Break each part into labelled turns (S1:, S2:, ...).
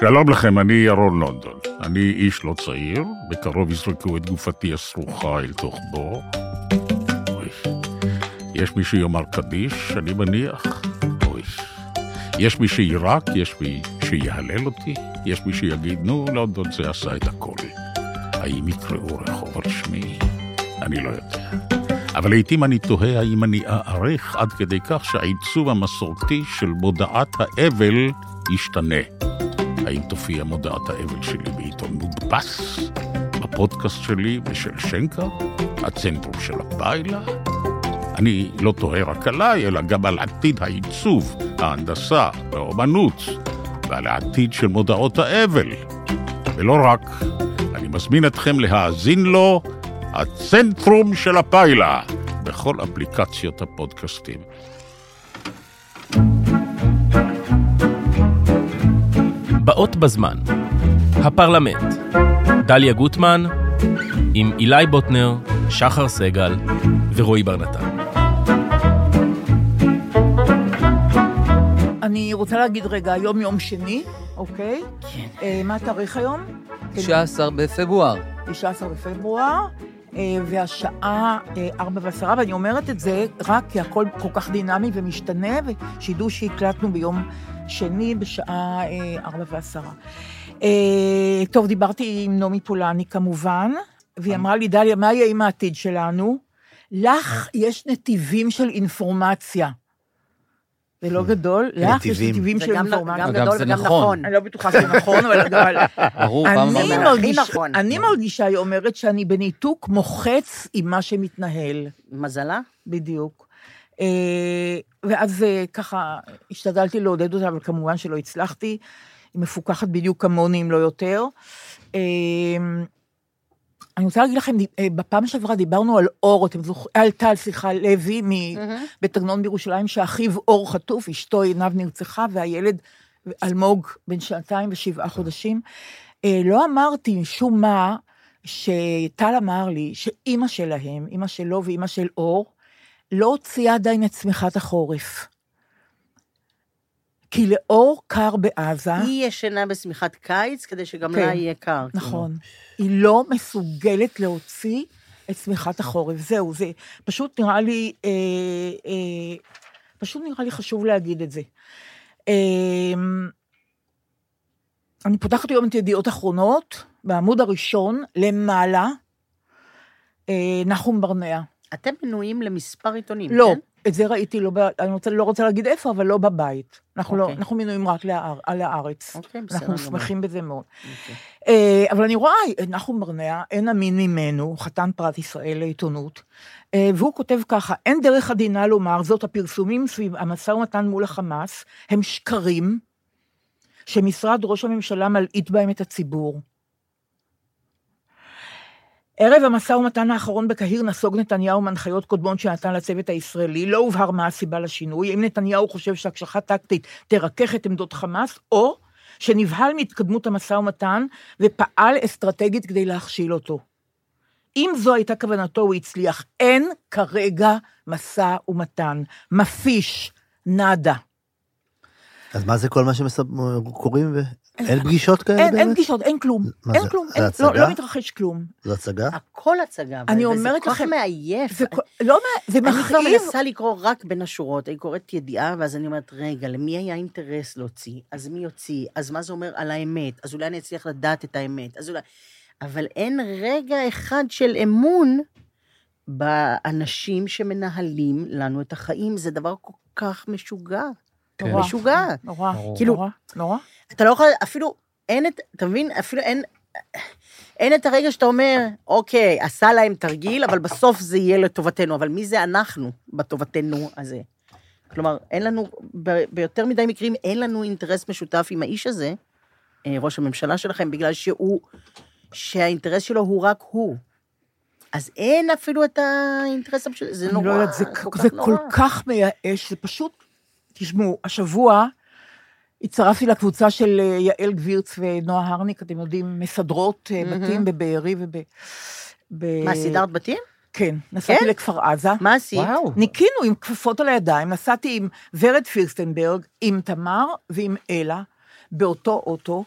S1: שלום לכם, אני ירון לונדון. אני איש לא צעיר, בקרוב יזרקו את גופתי הסרוחה אל תוך בור. אוי, יש מי שיאמר קדיש, אני מניח. אוי. יש מי שיירק, יש מי שיהלל אותי, יש מי שיגיד, נו, לונדון זה עשה את הכל. האם יקראו רחוב על שמי? אני לא יודע. אבל לעתים אני תוהה האם אני אערך עד כדי כך שהעיצוב המסורתי של מודעת האבל ישתנה. האם תופיע מודעת האבל שלי בעיתון מודפס? בפודקאסט שלי ושל שנקר? הצנטרום של הפיילה? אני לא תוהה רק עליי, אלא גם על עתיד העיצוב, ההנדסה, האומנות, ועל העתיד של מודעות האבל. ולא רק, אני מזמין אתכם להאזין לו, הצנטרום של הפיילה, בכל אפליקציות הפודקאסטים.
S2: באות בזמן. הפרלמנט. דליה גוטמן עם אילי בוטנר, שחר סגל ורועי בר נתן.
S3: אני רוצה להגיד רגע, היום יום שני, אוקיי?
S4: כן.
S3: אה, מה התאריך היום?
S4: 19 בפברואר.
S3: 19 בפברואר, אה, והשעה אה, 4 ועשרה, ואני אומרת את זה רק כי הכל כל כך דינמי ומשתנה, ושידעו שהקלטנו ביום שני בשעה אה, 4 ועשרה. אה, טוב, דיברתי עם נעמי פולני כמובן, והיא אמרה לי, דליה, מה יהיה עם העתיד שלנו? לך יש נתיבים של אינפורמציה. זה לא גדול, לך יש
S5: נתיבים.
S3: נתיבים
S6: כן. זה
S3: של
S6: גם לא-
S3: אינפורמציה.
S6: גם
S4: אגב,
S6: גדול
S4: זה
S6: וגם
S4: נכון.
S6: נכון.
S3: אני לא בטוחה שזה נכון, אבל... אבל
S4: ברור, פעם
S3: אני לא-
S6: הכי
S4: אמרנו.
S3: מרגיש-
S6: נכון.
S3: אני מרגישה, היא אומרת, שאני בניתוק מוחץ עם מה שמתנהל,
S6: מזלה?
S3: בדיוק. אה, ואז אה, ככה השתדלתי לעודד אותה, אבל כמובן שלא הצלחתי. היא מפוקחת בדיוק כמוני, אם לא יותר. אה, אני רוצה להגיד לכם, אה, בפעם שעברה דיברנו על אור, אתם זוכרים, על טל, סליחה, לוי,
S4: Mm-hmm.
S3: מ- בית עגנון בירושלים, שאחיו אור חטוף, אשתו עיניו נרצחה, והילד אלמוג, בן שנתיים ושבעה חודשים. אה, לא אמרתי משום מה שטל אמר לי שאימא שלהם, אימא שלו ואימא של אור, לא הוציאה עדיין את צמיחת החורף. כי לאור קר בעזה,
S6: היא ישנה בשמיכת קיץ, כדי שגם
S3: כן.
S6: לה יהיה קר. כאילו.
S3: נכון, היא לא מסוגלת להוציא את צמיחת החורף. זהו, זה פשוט נראה לי, אה, אה, פשוט נראה לי חשוב להגיד את זה. אה, אני פותחת היום את ידיעות אחרונות, בעמוד הראשון, למעלה, אה, נחום ברנע.
S6: אתם מנויים למספר עיתונים,
S3: לא,
S6: כן?
S3: את זה ראיתי, לא, ב- אני רוצה, לא רוצה להגיד איפה, אבל לא בבית. אנחנו, לא,
S6: אוקיי.
S3: אנחנו מנויים רק להאר, על הארץ.
S6: אוקיי, בסדר גמור.
S3: אנחנו שמחים בזה מאוד.
S6: אוקיי.
S3: אה, אבל אני רואה, אה, נחום ברנע, אין אמין ממנו, חתן פרט ישראל לעיתונות, אה, והוא כותב ככה, אין דרך עדינה לומר, זאת הפרסומים סביב המשא ומתן מול החמאס, הם שקרים, שמשרד ראש הממשלה מלעיט בהם את הציבור. ערב המשא ומתן האחרון בקהיר נסוג נתניהו מהנחיות קודמות שנתן לצוות הישראלי, לא הובהר מה הסיבה לשינוי, אם נתניהו חושב שהקשחה טקטית תרכך את עמדות חמאס, או שנבהל מהתקדמות המשא ומתן ופעל אסטרטגית כדי להכשיל אותו. אם זו הייתה כוונתו, הוא הצליח. אין כרגע משא ומתן. מפיש, נאדה.
S5: אז מה זה כל מה שקוראים? אין פגישות כאלה
S3: אין,
S5: באמת?
S3: אין פגישות, אין כלום.
S5: מה
S3: אין
S5: זה-
S3: כלום.
S5: זה
S3: אין, לא,
S5: הצגה?
S3: לא מתרחש כלום.
S5: זו הצגה?
S6: הכל הצגה, אבל-
S3: אני
S6: וזה
S3: אומרת
S6: כל כך
S3: לכם-
S6: מעייף.
S3: זה, כל- לא, מה- זה
S6: אני כבר
S3: מכאיב.
S6: מנסה לקרוא רק בין השורות, אני קוראת ידיעה, ואז אני אומרת, רגע, למי היה אינטרס להוציא? אז מי יוציא? אז מה זה אומר על האמת? אז אולי אני אצליח לדעת את האמת, אז אולי... אבל אין רגע אחד של אמון באנשים שמנהלים לנו את החיים, זה דבר כל כך משוגע.
S5: כן.
S3: נורא.
S6: משוגע.
S3: נורא,
S4: ברור.
S3: כאילו, נורא, נורא.
S6: אתה לא יכול, אפילו אין את, אתה מבין? אפילו אין, אין את הרגע שאתה אומר, אוקיי, עשה להם תרגיל, אבל בסוף זה יהיה לטובתנו. אבל מי זה אנחנו בטובתנו הזה? כלומר, אין לנו, ב- ביותר מדי מקרים, אין לנו אינטרס משותף עם האיש הזה, אה, ראש הממשלה שלכם, בגלל שהוא, שהאינטרס שלו הוא רק הוא. אז אין אפילו את האינטרס המשותף, זה
S3: אני
S6: נורא,
S3: לא יודעת, זה
S6: כל
S3: זה
S6: כך
S3: כל
S6: נורא.
S3: כך מייאש, זה פשוט... תשמעו, השבוע הצטרפתי לקבוצה של אה, יעל גבירץ ונועה הרניק, אתם יודעים, מסדרות אה,
S6: מהמם.
S3: בתים בבארי וב... ב-
S6: מה, סידרת בתים?
S3: כן, נסעתי
S6: כן?
S3: לכפר עזה.
S6: מה עשית?
S3: ניקינו עם כפפות על הידיים, נסעתי עם ורד פירסטנברג, עם תמר ועם אלה, באותו אוטו,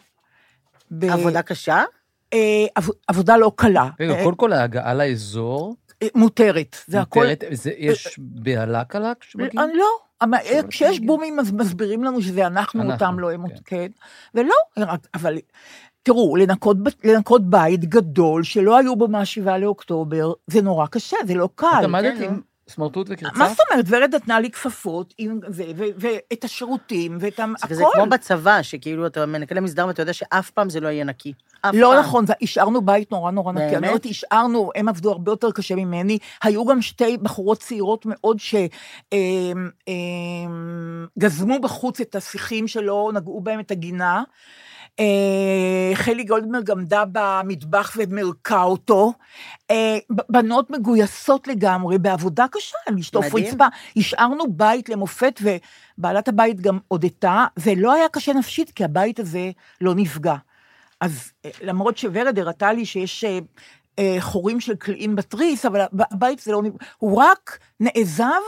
S3: ב...
S6: עבודה קשה?
S3: אה, עב... עבודה לא קלה.
S4: רגע,
S3: אה,
S4: קודם כל ההגעה לאזור,
S3: אה, מותרת. זה הכל... אה,
S4: מותרת, זה- יש בהלה קלה כשמגיעים?
S3: אני לא. המ-
S4: שמגיעים.
S3: כשיש בומים, אז מסבירים לנו שזה אנחנו
S4: אנחנו,
S3: אותם, לא הם
S4: כן.
S3: אותם, כן. ולא, רק- אבל תראו, לנקות בת- לנקות בית גדול שלא היו בו מהשבעה לאוקטובר, זה נורא קשה, זה לא
S4: את
S3: קל.
S4: עמדת
S3: כן,
S4: עם סמרטוט וקרצה?
S3: מה זאת אומרת? ורד נתנה לי כפפות עם זה, ו- ואת השירותים, ואת ה-
S6: זה
S3: הכל.
S6: כמו בצבא, שכאילו אתה מקדם מסדר ואתה יודע שאף פעם זה לא יהיה נקי. אף
S3: לא
S6: פעם.
S3: נכון, זה- השארנו בית נורא נורא נקי.
S6: באמת?
S3: אני אומרת, השארנו, הם עבדו הרבה יותר קשה ממני. היו גם שתי בחורות צעירות מאוד שגזמו בחוץ את השיחים שלא נגעו בהם את הגינה. אה, חלי גולדברג עמדה במטבח ומרקה אותו. אה, ב- בנות מגויסות לגמרי, בעבודה קשה, לשטוף
S6: מדהים.
S3: רצפה. השארנו בית למופת, ובעלת הבית גם הודתה, זה לא היה קשה נפשית, כי הבית הזה לא נפגע. אז אה, למרות שוורד הראתה לי שיש אה, אה, חורים של קליעים בתריס, אבל הב- הבית זה לא... נפ- הוא רק נעזב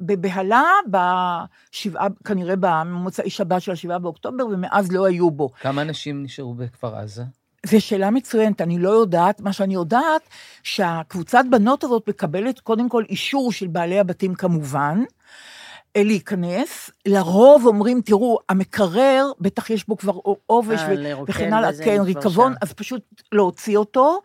S3: בבהלה בשבעה, כנראה במוצאי שבת של השבעה באוקטובר, ומאז לא היו בו.
S4: כמה אנשים נשארו בכפר עזה?
S3: זו שאלה מצוינת, אני לא יודעת. מה שאני יודעת, שהקבוצת בנות הזאת מקבלת קודם כל אישור של בעלי הבתים כמובן, אה, להיכנס. לרוב אומרים, תראו, המקרר, בטח יש בו כבר ע- עובש
S6: אה,
S3: ו-
S6: לרוקן
S3: וכן הלאה,
S6: וזה,
S3: כן,
S6: אני כבר
S3: ריקבון,
S6: שם.
S3: אז פשוט להוציא אותו,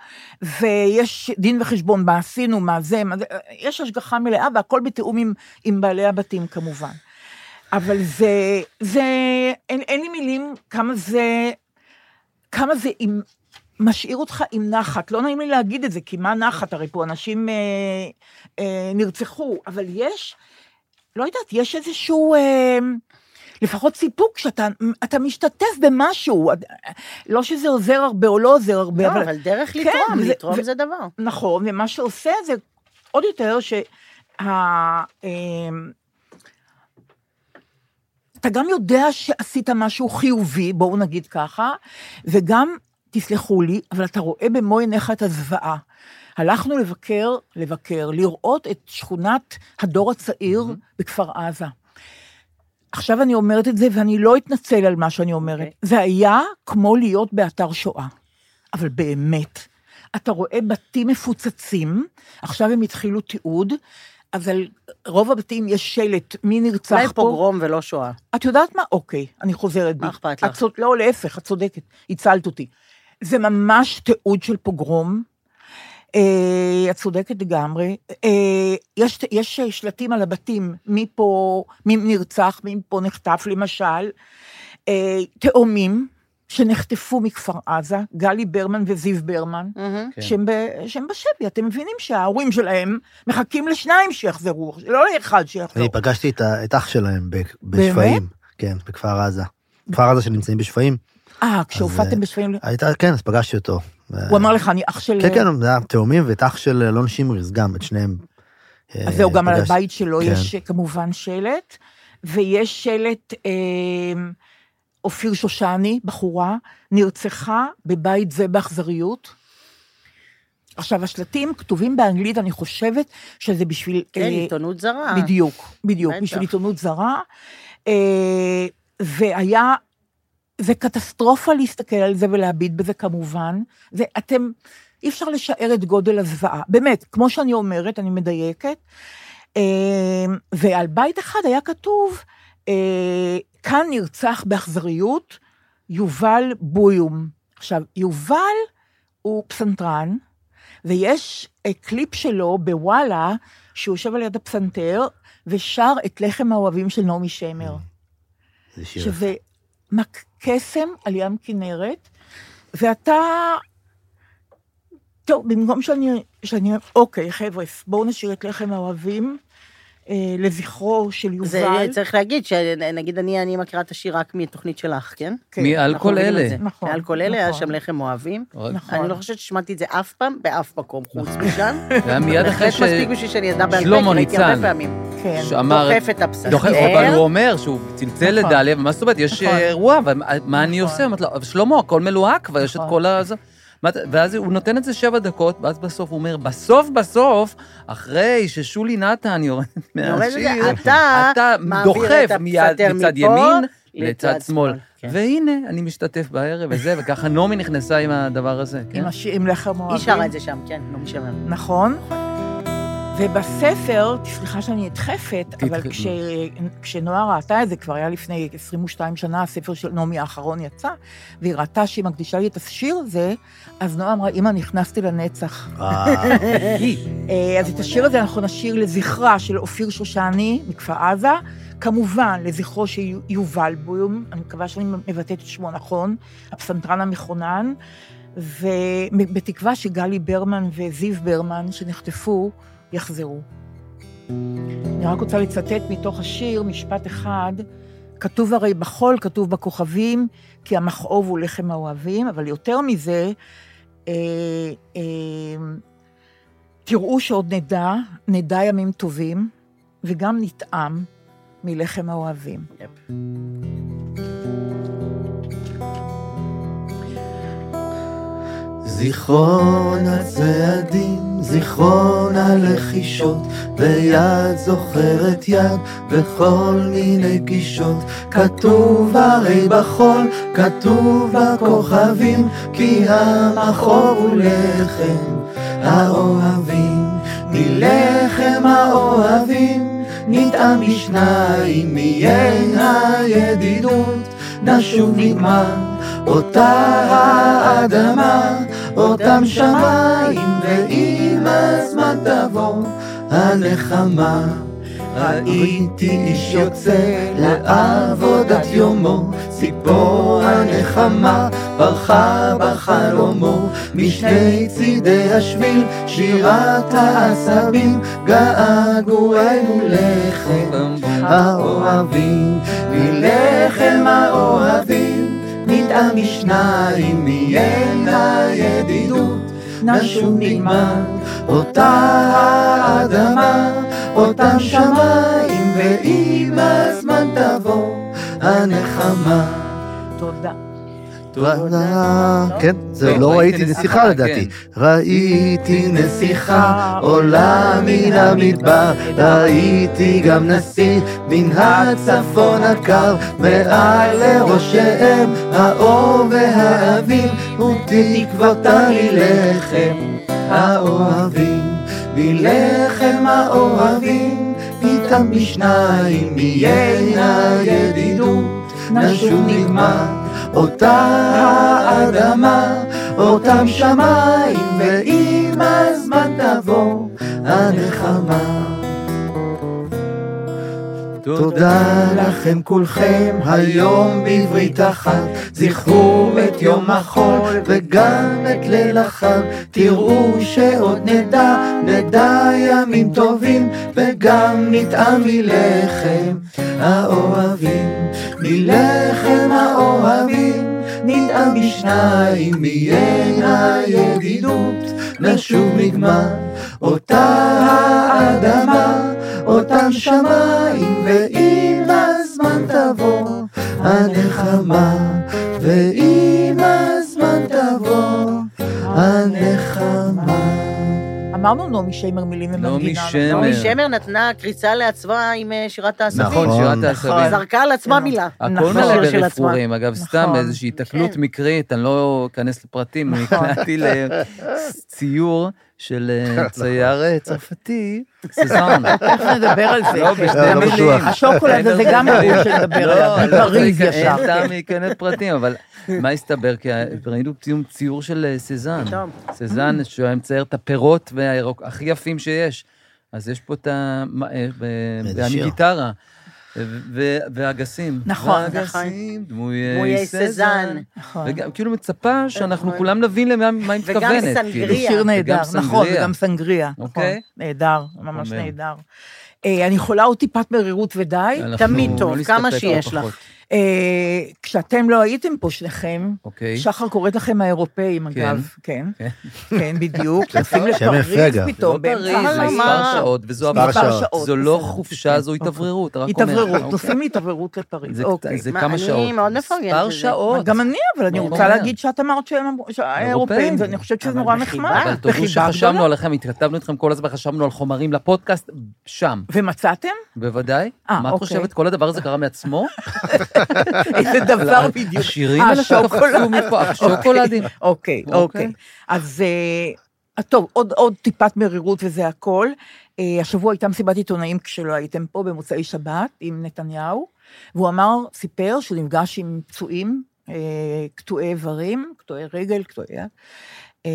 S3: ויש דין וחשבון, מה עשינו, מה זה, מה זה, אה, יש השגחה מלאה, והכל בתיאום עם, עם בעלי הבתים כמובן. אבל זה, זה, אין, אין לי מילים כמה זה, כמה זה עם, משאיר אותך עם נחת. לא נעים לי להגיד את זה, כי מה נחת? הרי פה אנשים אה, אה, נרצחו, אבל יש, לא יודעת, יש איזשהו... אה, לפחות סיפוק שאתה אתה משתתף במשהו, לא שזה עוזר הרבה או לא עוזר הרבה,
S6: לא, אבל דרך
S3: כן,
S6: לתרום,
S3: זה-
S6: לתרום
S3: זה-
S6: זה דבר.
S3: נכון, ומה שעושה זה עוד יותר שה... אה, אמ, אתה גם יודע שעשית משהו חיובי, בואו נגיד ככה, וגם, תסלחו לי, אבל אתה רואה במו עיניך את הזוועה. הלכנו לבקר, לבקר, לראות את שכונת הדור הצעיר בכפר עזה. עכשיו אני אומרת את זה, ואני לא אתנצל על מה שאני אומרת.
S6: אוקיי.
S3: זה היה כמו להיות באתר שואה. אבל באמת, אתה רואה בתים מפוצצים, עכשיו הם התחילו תיעוד, אז על רוב הבתים יש שלט, מי נרצח
S6: אולי
S3: פה.
S6: פוגרום ולא שואה.
S3: את יודעת מה? אוקיי, אני חוזרת בי.
S6: מה אכפת
S3: את
S6: לך?
S3: צוד... לא, להפך, את צודקת, הצלת אותי. זה ממש תיעוד של פוגרום. אה, את צודקת לגמרי. אה, יש, יש אה, שלטים על הבתים, מי פה, מי נרצח, מי פה נחטף, למשל. אה, תאומים שנחטפו מכפר עזה, גלי ברמן וזיו ברמן.
S6: מהמם.
S4: כן.
S3: שהם, ב, שהם בשבי, אתם מבינים שההורים שלהם מחכים לשניים שיחזרו, לא לאחד שיחזור.
S5: אני פגשתי את ה- את אח שלהם ב- בשפיים. כן, בכפר עזה. כפר עזה שנמצאים בשפיים.
S3: אה, כשהופעתם בשביל...
S5: הייתה, כן, אז פגשתי אותו. אה,
S3: הוא אמר לך, אני אח של...
S5: כן, כן, זה היה תאומים, ואת אח של אלון שמריז גם, את שניהם.
S3: אז זהו, גם על הבית שלו
S5: כן.
S3: יש אה, כמובן שלט, ויש שלט, אה, אופיר שושני, בחורה, נרצחה בבית זה באכזריות. עכשיו, השלטים כתובים באנגלית, אני חושבת שזה בשביל...
S6: כן,
S3: אה,
S6: עיתונות זרה.
S3: בדיוק, בדיוק,
S6: בטח.
S3: בשביל עיתונות זרה. אה, והיה, זה קטסטרופה להסתכל על זה ולהביט בזה כמובן. ואתם, אי אפשר לשער את גודל הזוועה. באמת, כמו שאני אומרת, אני מדייקת. אה, ועל בית אחד היה כתוב, אה, כאן נרצח באכזריות יובל בויום. עכשיו, יובל הוא פסנתרן, ויש אה, קליפ שלו בוואלה, שהוא יושב על יד הפסנתר ושר את לחם האוהבים של נעמי שמר,
S5: זה שיר.
S3: שזה מק- קסם על ים כנרת, ואתה... טוב, במקום שאני... שאני אוקיי, חבר'ה, בואו נשאיר את לחם האוהבים אה, לזכרו של יובל.
S6: זה צריך להגיד, שנגיד אני אני מכירה את השיר רק מתוכנית שלך, כן?
S3: כן,
S4: מי על
S6: אנחנו
S4: כל
S6: מבינים את
S4: אלה?
S6: זה.
S3: נכון,
S6: מעל כל אלה היה
S3: נכון.
S6: שם לחם אוהבים.
S3: נכון.
S6: אני לא חושבת ששמעתי את זה אף פעם, באף מקום חוץ משם.
S4: זה היה מיד
S6: בהחלט
S4: אחרי ש...
S6: מספיק בשביל שאני אדע בעל פה,
S4: שלמה
S6: כי ראיתי הרבה
S4: ניצן.
S6: פעמים.
S3: כן.
S4: שאמר...
S6: דוחף את הפסנתר.
S4: דוחף, אבל הוא אומר שהוא צלצל
S3: נכון.
S4: לדליה, ומה זאת אומרת, יש
S3: נכון.
S4: אה, אירוע, אבל מה- מה אני
S3: נכון.
S4: עושה? אמרתי לו, "אבל שלמה, הכל מלוהק, ויש את
S3: נכון.
S4: כל ה... זה." מה אתה- ואז הוא נותן את זה שבע דקות, ואז בסוף הוא אומר, בסוף בסוף, אחרי ששולי נתן יורדת
S6: יורד את זה,
S4: מהשיר,
S6: אתה
S4: אתה
S6: מעביר
S4: דוחף
S6: את
S4: מיד
S6: הפסנתר
S4: מצד
S6: מפה
S4: ימין
S6: לצד
S4: לצד שמאל.
S6: שמאל. כן.
S4: והנה, אני משתתף בערב וזה, וככה נעמי נכנסה עם הדבר הזה, כן?
S3: עם הש- עם לחם
S6: היא
S3: אוהבים.
S6: שרה את זה שם, כן, נעמי שמר.
S3: נכון. ובספר, סליחה שאני נדחפת, אבל
S4: תדחפי.
S3: כש, כשנועה ראתה את זה, כבר היה לפני 22 שנה, הספר של נעמי האחרון יצא, והיא ראתה שהיא מקדישה לי את השיר הזה, אז נועה אמרה, אמא, נכנסתי לנצח.
S5: וואו.
S3: אה, אז את השיר הזה אנחנו נשיר לזכרה של אופיר שושני מכפר עזה, כמובן לזכרו של יו- יובל בויום, אני מקווה שאני מבטאת את שמו נכון, הפסנתרן המכונן, ובתקווה שגלי ברמן וזיו ברמן, שנחטפו, יחזרו. אני רק רוצה לצטט מתוך השיר משפט אחד, כתוב הרי בחול, כתוב בכוכבים, כי המכאוב הוא לחם האוהבים, אבל יותר מזה, אה, אה, תראו שעוד נדע, נדע ימים טובים, וגם נטעם מלחם האוהבים.
S5: זיכרון הצעדים, זיכרון הלחישות, ויד זוכרת יד בכל מיני גישות. כתוב הרי בחול, כתוב בכוכבים, כי המחור הוא לחם האוהבים. מלחם האוהבים נטעם משניים, מיין הידידות, נשוב נגמר. אותה האדמה, אותם שמיים, ועם הזמן תבוא הנחמה. ראיתי איש יוצא לעבודת יומו, ציפור הנחמה ברחה בחלומו, משני צידי השביל שירת העשבים, געגוענו לחם האוהבים, מלחם האוהבים, נטעם משניים, מיין הידידות, נשוב נגמר, אותה האדמה, אותם שמיים, ועם הזמן תבוא הנחמה.
S3: תודה.
S5: תודה. כן, זה
S4: טוב,
S5: לא
S4: ראיתי
S5: ראיתי
S4: נסיכה, כן.
S5: נסיכה לדעתי. ראיתי נסיכה עולה מן המדבר, ראיתי גם נשיא מן הצפון הקר, מעל לראשיהם האור והאביב, ותקוותה לי לחם האוהבים, מלחם האוהבים, נטעם משניים, מיין הידידות, נשוב נגמר. אותה האדמה, אותם שמיים, ועם הזמן תבוא הנחמה. תודה לכם כולכם היום בברית אחת, זכרו את יום החול וגם את ליל החג, תראו שעוד נדע, נדע ימים טובים, וגם נטעם מלחם האוהבים, מלחם האוהבים. נטעם משניים, מיין הידידות, נשוב נגמר, אותה האדמה, אותם שמיים, ועם הזמן תבוא הנחמה, ועם הזמן תבוא הנחמה.
S3: אמרנו נעמי שמר מילים
S4: נעמי
S3: ומנגינה.
S4: שמר.
S3: נכון?
S6: נעמי
S4: שמר.
S6: שמר נתנה קריצה לעצמה עם אה, שירת העשבים.
S4: נכון, כן,
S5: נכון,
S4: שירת
S6: היא
S4: העשבים.
S6: זרקה על עצמה
S3: נכון.
S6: מילה.
S4: הכל
S3: נכון.
S4: מלא
S6: של עצמה.
S4: ברפורים, אגב, סתם
S3: נכון.
S4: באיזושהי התקלות
S6: כן.
S4: מקרית, אני לא אכנס לפרטים, נקלעתי לציור של אה, צייר אה, צרפתי, סזן.
S3: תכף נדבר על זה.
S4: לא,
S3: כן.
S4: בשתי
S5: לא
S4: מילים.
S5: בטוח.
S3: השוקולד הזה גם אמרו שנדבר
S4: לא,
S3: עליו,
S4: לא,
S3: בפריז
S4: זה-
S3: ישר.
S4: אין טעם להיכנס לפרטים, אבל מה הסתבר? כי ראינו ציום- ציור של אה, סזן.
S6: פתאום.
S4: סזן, שהוא היה מצייר את הפירות והירוק הכי יפים שיש. אז יש פה את ה... מה, אה, ב-
S5: איזה
S4: ואני
S5: שיר.
S4: גיטרה. ו- ו- והגסים.
S3: נכון,
S4: והגסים, דמויי
S6: דמויי
S4: סזן.
S6: סזן.
S3: נכון.
S4: וגם כאילו מצפה שאנחנו
S6: נכון.
S4: כולם נבין למה מה היא
S6: וגם
S4: מתכוונת. כאילו.
S6: סנגריה.
S3: שיר נהדר,
S4: וגם
S3: נכון,
S4: סנגריה.
S3: וגם סנגריה. נכון,
S4: אוקיי.
S3: נהדר, ממש
S4: אומר.
S3: נהדר. אה, אני חולה עוד טיפת מרירות ודי.
S4: אנחנו
S6: תמיד טוב,
S4: לא
S6: כמה
S4: נסתפק
S6: שיש
S4: בפחות.
S6: לך.
S3: אה, כשאתם לא הייתם פה שניכם,
S4: אוקיי.
S3: שחר קוראת לכם האירופאים,
S4: כן.
S3: אגב. כן. כן, בדיוק. יוצאים
S5: שם יפה,
S3: לפריז
S5: אגב.
S4: זה לא
S3: פתאום.
S4: פריז,
S3: באמצע אה,
S4: זה מספר
S3: הלילה.
S4: שעות, וזו
S5: מספר
S4: עבודה.
S5: שעות.
S4: זו לא
S3: בסדר.
S4: חופשה, זו
S3: אוקיי.
S4: התאווררות, רק אומר.
S3: התאווררות,
S4: אוקיי.
S3: נוסעים להתאווררות לפריז,
S4: זה-
S3: אוקיי.
S4: זה
S6: מה,
S4: כמה
S6: אני
S4: שעות.
S6: מאוד מפרגנת
S4: מספר
S6: לזה.
S4: שעות.
S3: גם אני, אבל אני
S4: לא
S3: רוצה
S4: מעוניין.
S3: להגיד שאת אמרת שהם אמרו- שהאירופאים, ואני חושבת שזה
S6: אבל
S3: נורא
S6: בחיבה.
S3: נחמד.
S4: אבל תודו
S3: בחיבה
S4: שחשבנו
S3: גדולה.
S4: עליכם, התכתבנו איתכם כל הזמן, חשבנו על חומרים לפודקאסט, שם,
S3: ומצאתם?
S4: בוודאי.
S3: אה,
S4: מה את
S3: אוקיי.
S4: חושבת, כל הדבר הזה קרה מעצמו?
S3: איזה
S4: לא.
S3: דבר בדיוק.
S4: השירים
S3: אה,
S4: האלה שקפצו
S3: שוקולד.
S4: מפה, השוקולדים.
S3: אוקיי,
S4: אוקיי.
S3: אוקיי. אז אה, טוב, עוד, עוד טיפת מרירות וזה הכל. אה, השבוע הייתה מסיבת עיתונאים כשלא הייתם פה במוצאי שבת עם נתניהו, והוא אמר, סיפר שהוא נפגש עם פצועים, אה, קטועי איברים, קטועי רגל, קטועי יד. אה,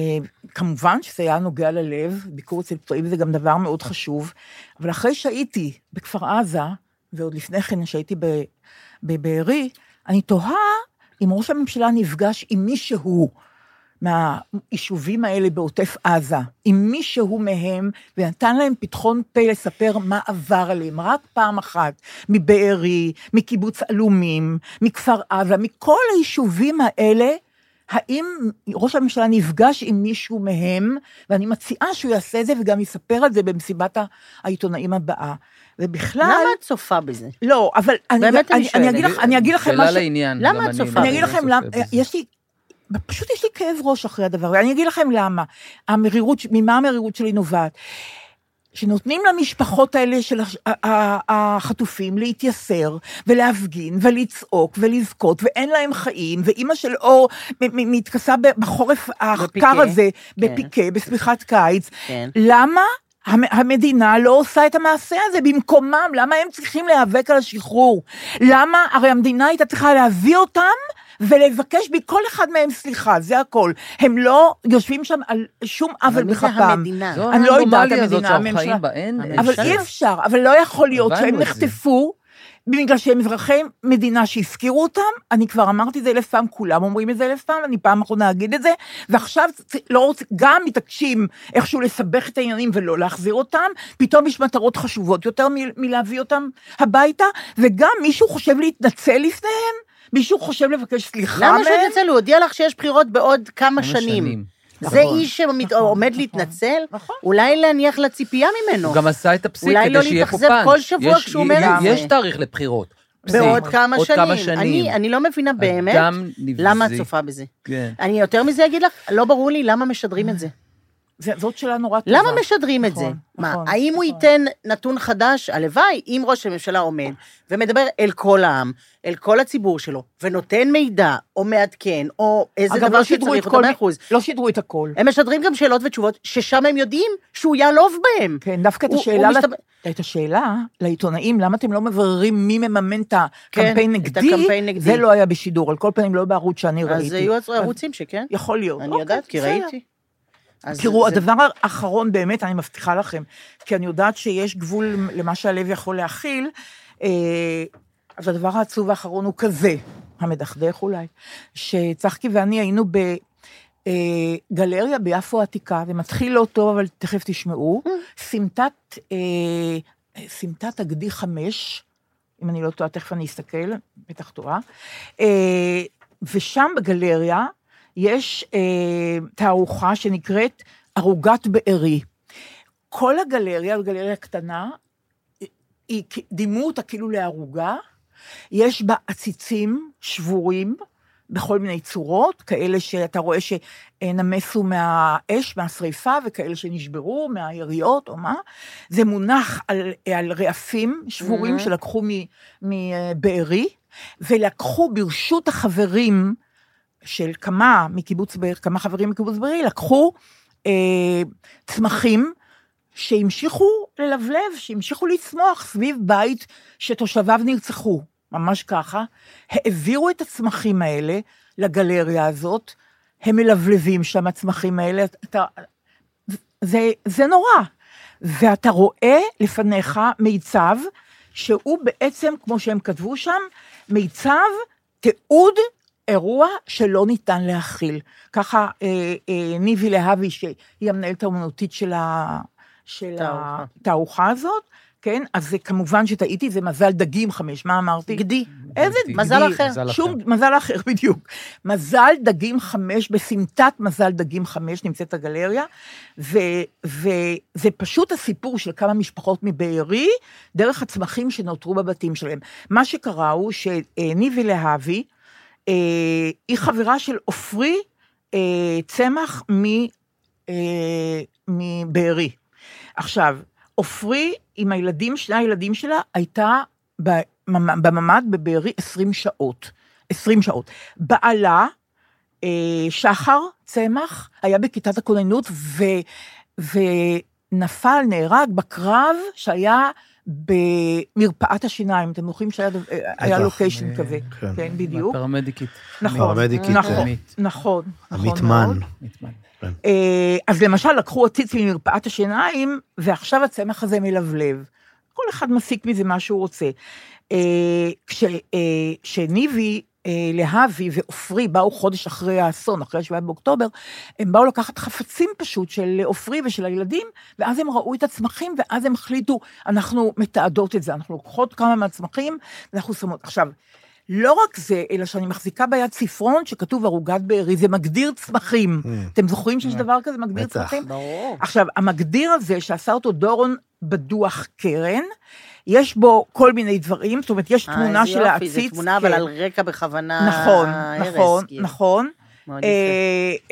S3: כמובן שזה היה נוגע ללב, ביקור אצל פצועים זה גם דבר מאוד חשוב, אבל אחרי שהייתי בכפר עזה, ועוד לפני כן שהייתי ב- בבארי, אני תוהה אם ראש הממשלה נפגש עם מישהו מהיישובים האלה בעוטף עזה, עם מישהו מהם, ונתן להם פתחון פה לספר מה עבר עליהם, רק פעם אחת, מבארי, מקיבוץ עלומים, מכפר עזה, מכל היישובים האלה, האם ראש הממשלה נפגש עם מישהו מהם, ואני מציעה שהוא יעשה את זה וגם יספר על זה במסיבת העיתונאים הבאה. ובכלל...
S6: למה את צופה בזה?
S3: לא, אבל אני,
S6: באמת אני
S3: אני, אני, אגיד לך,
S6: שואלת.
S3: אני אגיד לכם
S4: שאלה
S3: משהו,
S4: לא לעניין.
S6: למה
S4: גם
S6: את צופה?
S4: מאוד
S3: אני אגיד לכם
S4: צופה
S3: למה, אה,
S4: בזה.
S3: יש לי, פשוט יש לי כאב ראש אחרי הדבר, ואני אגיד לכם למה. המרירות, ממה המרירות שלי נובעת? שנותנים למשפחות האלה של הש- ה- ה- החטופים להתייסר ולהפגין ולצעוק ולבכות, ואין להם חיים, ואימא של אור מ- מ- מתכסה ב- בחורף הקר
S6: בפיקה.
S3: הזה, בפיקה, בשמיכת קיץ.
S6: כן.
S4: לא,
S3: למה המ- המדינה לא עושה את המעשה הזה במקומם? למה הם צריכים להיאבק על השחרור? למה, הרי המדינה הייתה צריכה להביא אותם ולבקש מכל אחד מהם סליחה, זה הכל. הם לא יושבים שם על שום
S6: אבל
S3: עוול
S6: מי זה
S3: בכפם.
S6: המדינה?
S4: זו
S3: אני לא יודעת,
S4: הנורמליה הזאת
S3: המדינה,
S4: שאנחנו
S3: הממשלה.
S4: חיים בה, אין... אין
S3: אבל
S4: אפשר.
S3: אי אפשר, אבל לא יכול להיות
S4: הבנו
S3: שהם
S4: את זה.
S3: נחטפו בגלל שהם אזרחי מדינה שהפקירו אותם, אני כבר אמרתי את זה אלף פעם, כולם אומרים את זה אלף פעם, אני פעם אחרונה אגיד את זה, ועכשיו צ- לא רוצים, גם מתעקשים איכשהו לסבך את העניינים ולא להחזיר אותם, פתאום יש מטרות חשובות יותר מ- מלהביא אותם הביתה, וגם מישהו חושב להתנצל לפניהם, מישהו חושב לבקש סליחה
S6: למה
S3: מהם.
S6: שהוא יתנצל? הוא הודיע לך שיש בחירות בעוד כמה
S4: כמה
S6: שנים.
S3: נכון.
S6: זה איש שעומד
S3: נכון.
S6: להתנצל?
S3: נכון.
S6: אולי להניח לציפייה ממנו.
S4: הוא גם עשה את הפסיק
S6: אולי
S4: כדי
S6: לא
S4: שיהיה פה פאנץ'.
S6: להתאכזב כל שבוע
S4: יש-
S6: כשהוא אומר את זה.
S4: יש תאריך לבחירות. פסיק.
S6: בעוד כמה
S4: עוד
S6: שנים.
S4: כמה שנים.
S6: אני- אני לא מבינה באמת
S4: אדם נבזי.
S6: למה את צופה בזה.
S4: כן.
S6: אני יותר מזה אגיד לך, לא ברור לי למה משדרים את זה.
S3: זה- זאת שאלה נורא טובה.
S6: למה משדרים את זה?
S3: אה, נכון,
S6: מה,
S3: נכון,
S6: האם הוא
S3: נכון.
S6: ייתן נתון חדש? הלוואי, אם ראש הממשלה עומד ומדבר אל כל העם, אל כל הציבור שלו, ונותן מידע, או מעדכן, או איזה
S3: אגב,
S6: דבר
S3: לא שידרו
S6: שצריך
S3: את
S6: אותו
S3: כל
S6: מאה
S3: מי-
S6: אחוז.
S3: לא שידרו את הכל.
S6: הם משדרים גם שאלות ותשובות, ששם הם יודעים שהוא יעלוב בהם.
S3: כן, דווקא את
S6: הוא-
S3: השאלה,
S6: הוא
S3: לת-
S6: מסתבר-
S3: את השאלה לעיתונאים, למה אתם לא מבררים מי מממן את הקמפיין
S6: כן, את
S3: נגדי,
S6: הקמפיין נגדי.
S3: זה לא היה בשידור, על כל פנים לא בערוץ שאני ראיתי.
S6: אז יהיו ערוצים שכן,
S3: יכול להיות.
S6: אני
S3: אוקיי,
S6: יודעת, כי
S3: בסדר.
S6: ראיתי. אז
S3: תראו,
S6: זה-
S3: הדבר האחרון באמת, אני מבטיחה לכם, כי אני יודעת שיש גבול למה שהלב יכול להכיל, אה, אז הדבר העצוב האחרון הוא כזה, המדכדך אולי, שצחקי ואני היינו בגלריה ביפו העתיקה, ומתחיל לא טוב, אבל תכף תשמעו, סמטת, אה, סמטת הגדי חמש, אם אני לא טועה, תכף אני אסתכל, בטח טועה, אה, ושם בגלריה, יש אה, תערוכה שנקראת ערוגת בארי. כל הגלריה, גלריה קטנה, היא- היא, כ- דימו אותה כאילו לערוגה, יש בה עציצים שבורים בכל מיני צורות, כאלה שאתה רואה שנמסו מהאש, מהשריפה, וכאלה שנשברו מהיריות או מה. זה מונח על, על רעפים שבורים
S6: Mhm.
S3: שלקחו מבארי, ולקחו ברשות החברים של כמה מקיבוץ בארי, כמה חברים מקיבוץ בארי, לקחו אה, צמחים שהמשיכו ללבלב, שהמשיכו לצמוח סביב בית שתושביו נרצחו, ממש ככה. העבירו את הצמחים האלה לגלריה הזאת, הם מלבלבים שם, הצמחים האלה, אתה, זה, זה נורא. ואתה רואה לפניך מיצב, שהוא בעצם, כמו שהם כתבו שם, מיצב, תיעוד, אירוע שלא ניתן להכיל. ככה אה, אה, ניבי להבי, שהיא המנהלת האומנותית של, ה, של
S6: תערוכה.
S3: התערוכה הזאת, כן? אז זה כמובן שטעיתי, זה מזל דגים חמש, מה אמרתי?
S6: גדי.
S3: איזה
S4: גדי.
S6: מזל
S3: גדי?
S6: אחר.
S4: מזל אחר.
S3: שום מזל אחר, בדיוק. מזל דגים חמש, בסמטת מזל דגים חמש נמצאת הגלריה, ו, וזה פשוט הסיפור של כמה משפחות מבארי, דרך הצמחים שנותרו בבתים שלהם. מה שקרה הוא שניבי להבי, אה, היא חברה של עופרי אה, צמח מ, אה, מבארי. עכשיו, עופרי עם הילדים, שני הילדים שלה, הייתה בממ- בממ"ד בבארי 20 שעות. 20 שעות. בעלה, אה, שחר צמח, היה בכיתת הכוננות ו, ונפל, נהרג בקרב שהיה במרפאת השיניים. אתם זוכרים שהיה דו- אה, היה
S5: בטח.
S3: לוקיישן
S4: אה,
S3: כזה.
S5: כן.
S3: כן, בדיוק.
S4: פרמדיקית.
S3: נכון,
S5: פרמדיקית,
S3: נכון,
S4: עמית.
S3: נכון,
S5: עמית
S3: נכון מאוד.
S5: מן.
S4: נתמן.
S3: אה, אז למשל, לקחו עציץ ממרפאת השיניים, ועכשיו הצמח הזה מלבלב. כל אחד מסיק מזה מה שהוא רוצה. אה, כשניבי, אה, כשניבי, אה, להבי ועופרי באו חודש אחרי האסון, אחרי ה-7 באוקטובר, הם באו לקחת חפצים פשוט של עופרי ושל הילדים, ואז הם ראו את הצמחים, ואז הם החליטו, אנחנו מתעדות את זה, אנחנו לוקחות כמה מהצמחים, ואנחנו שמות. עכשיו, לא רק זה, אלא שאני מחזיקה ביד ספרון שכתוב ערוגת בארי, זה מגדיר צמחים. אתם זוכרים שיש דבר כזה, מגדיר
S5: בטח.
S3: צמחים?
S6: ברור.
S3: עכשיו, המגדיר הזה שעשה אותו דורון בדוח קרן, יש בו כל מיני דברים, זאת אומרת, יש
S6: אה,
S3: תמונה
S6: איזה
S3: של
S6: יופי,
S3: העציץ.
S6: זו תמונה,
S3: כן.
S6: אבל על רקע בכוונה...
S3: נכון,
S6: הרס,
S3: נכון,
S6: כאילו.
S3: נכון.
S6: מאוד יפה.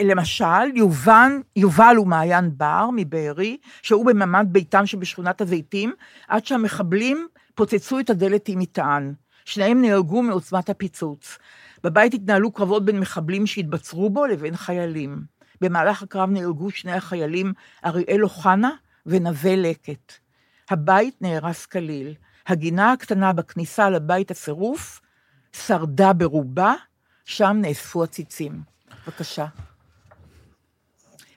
S3: אה, למשל, יובן, יובל הוא מעיין בר מבארי, שהוא בממ"ד ביתם שבשכונת הזיתים, עד שהמחבלים פוצצו את הדלת עם מטען. שניהם נהרגו מעוצמת הפיצוץ. בבית התנהלו קרבות בין מחבלים שהתבצרו בו לבין חיילים. במהלך הקרב נהרגו שני החיילים, אריאל אוחנה ונווה לקט. הבית נהרס כליל. הגינה הקטנה בכניסה לבית הצירוף שרדה ברובה, שם נאספו הציצים. בבקשה.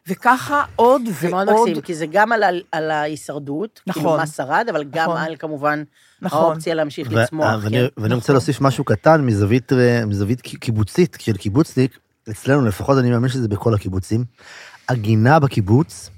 S3: וככה עוד
S6: זה מאוד
S3: ועוד,
S6: מקסים, כי זה גם על, ה- על ההישרדות, כאילו
S3: נכון.
S6: מה שרד, אבל גם
S3: נכון.
S6: על כמובן
S3: נכון,
S6: האופציה להמשיך
S5: ו-
S6: לצמוח.
S5: אה, ואני-
S6: כן.
S5: ואני רוצה להוסיף משהו קטן מזווית, אה, מזווית ק- קיבוצית, של קיבוצניק, אצלנו לפחות, אני מאמין שזה בכל הקיבוצים. הגינה בקיבוץ,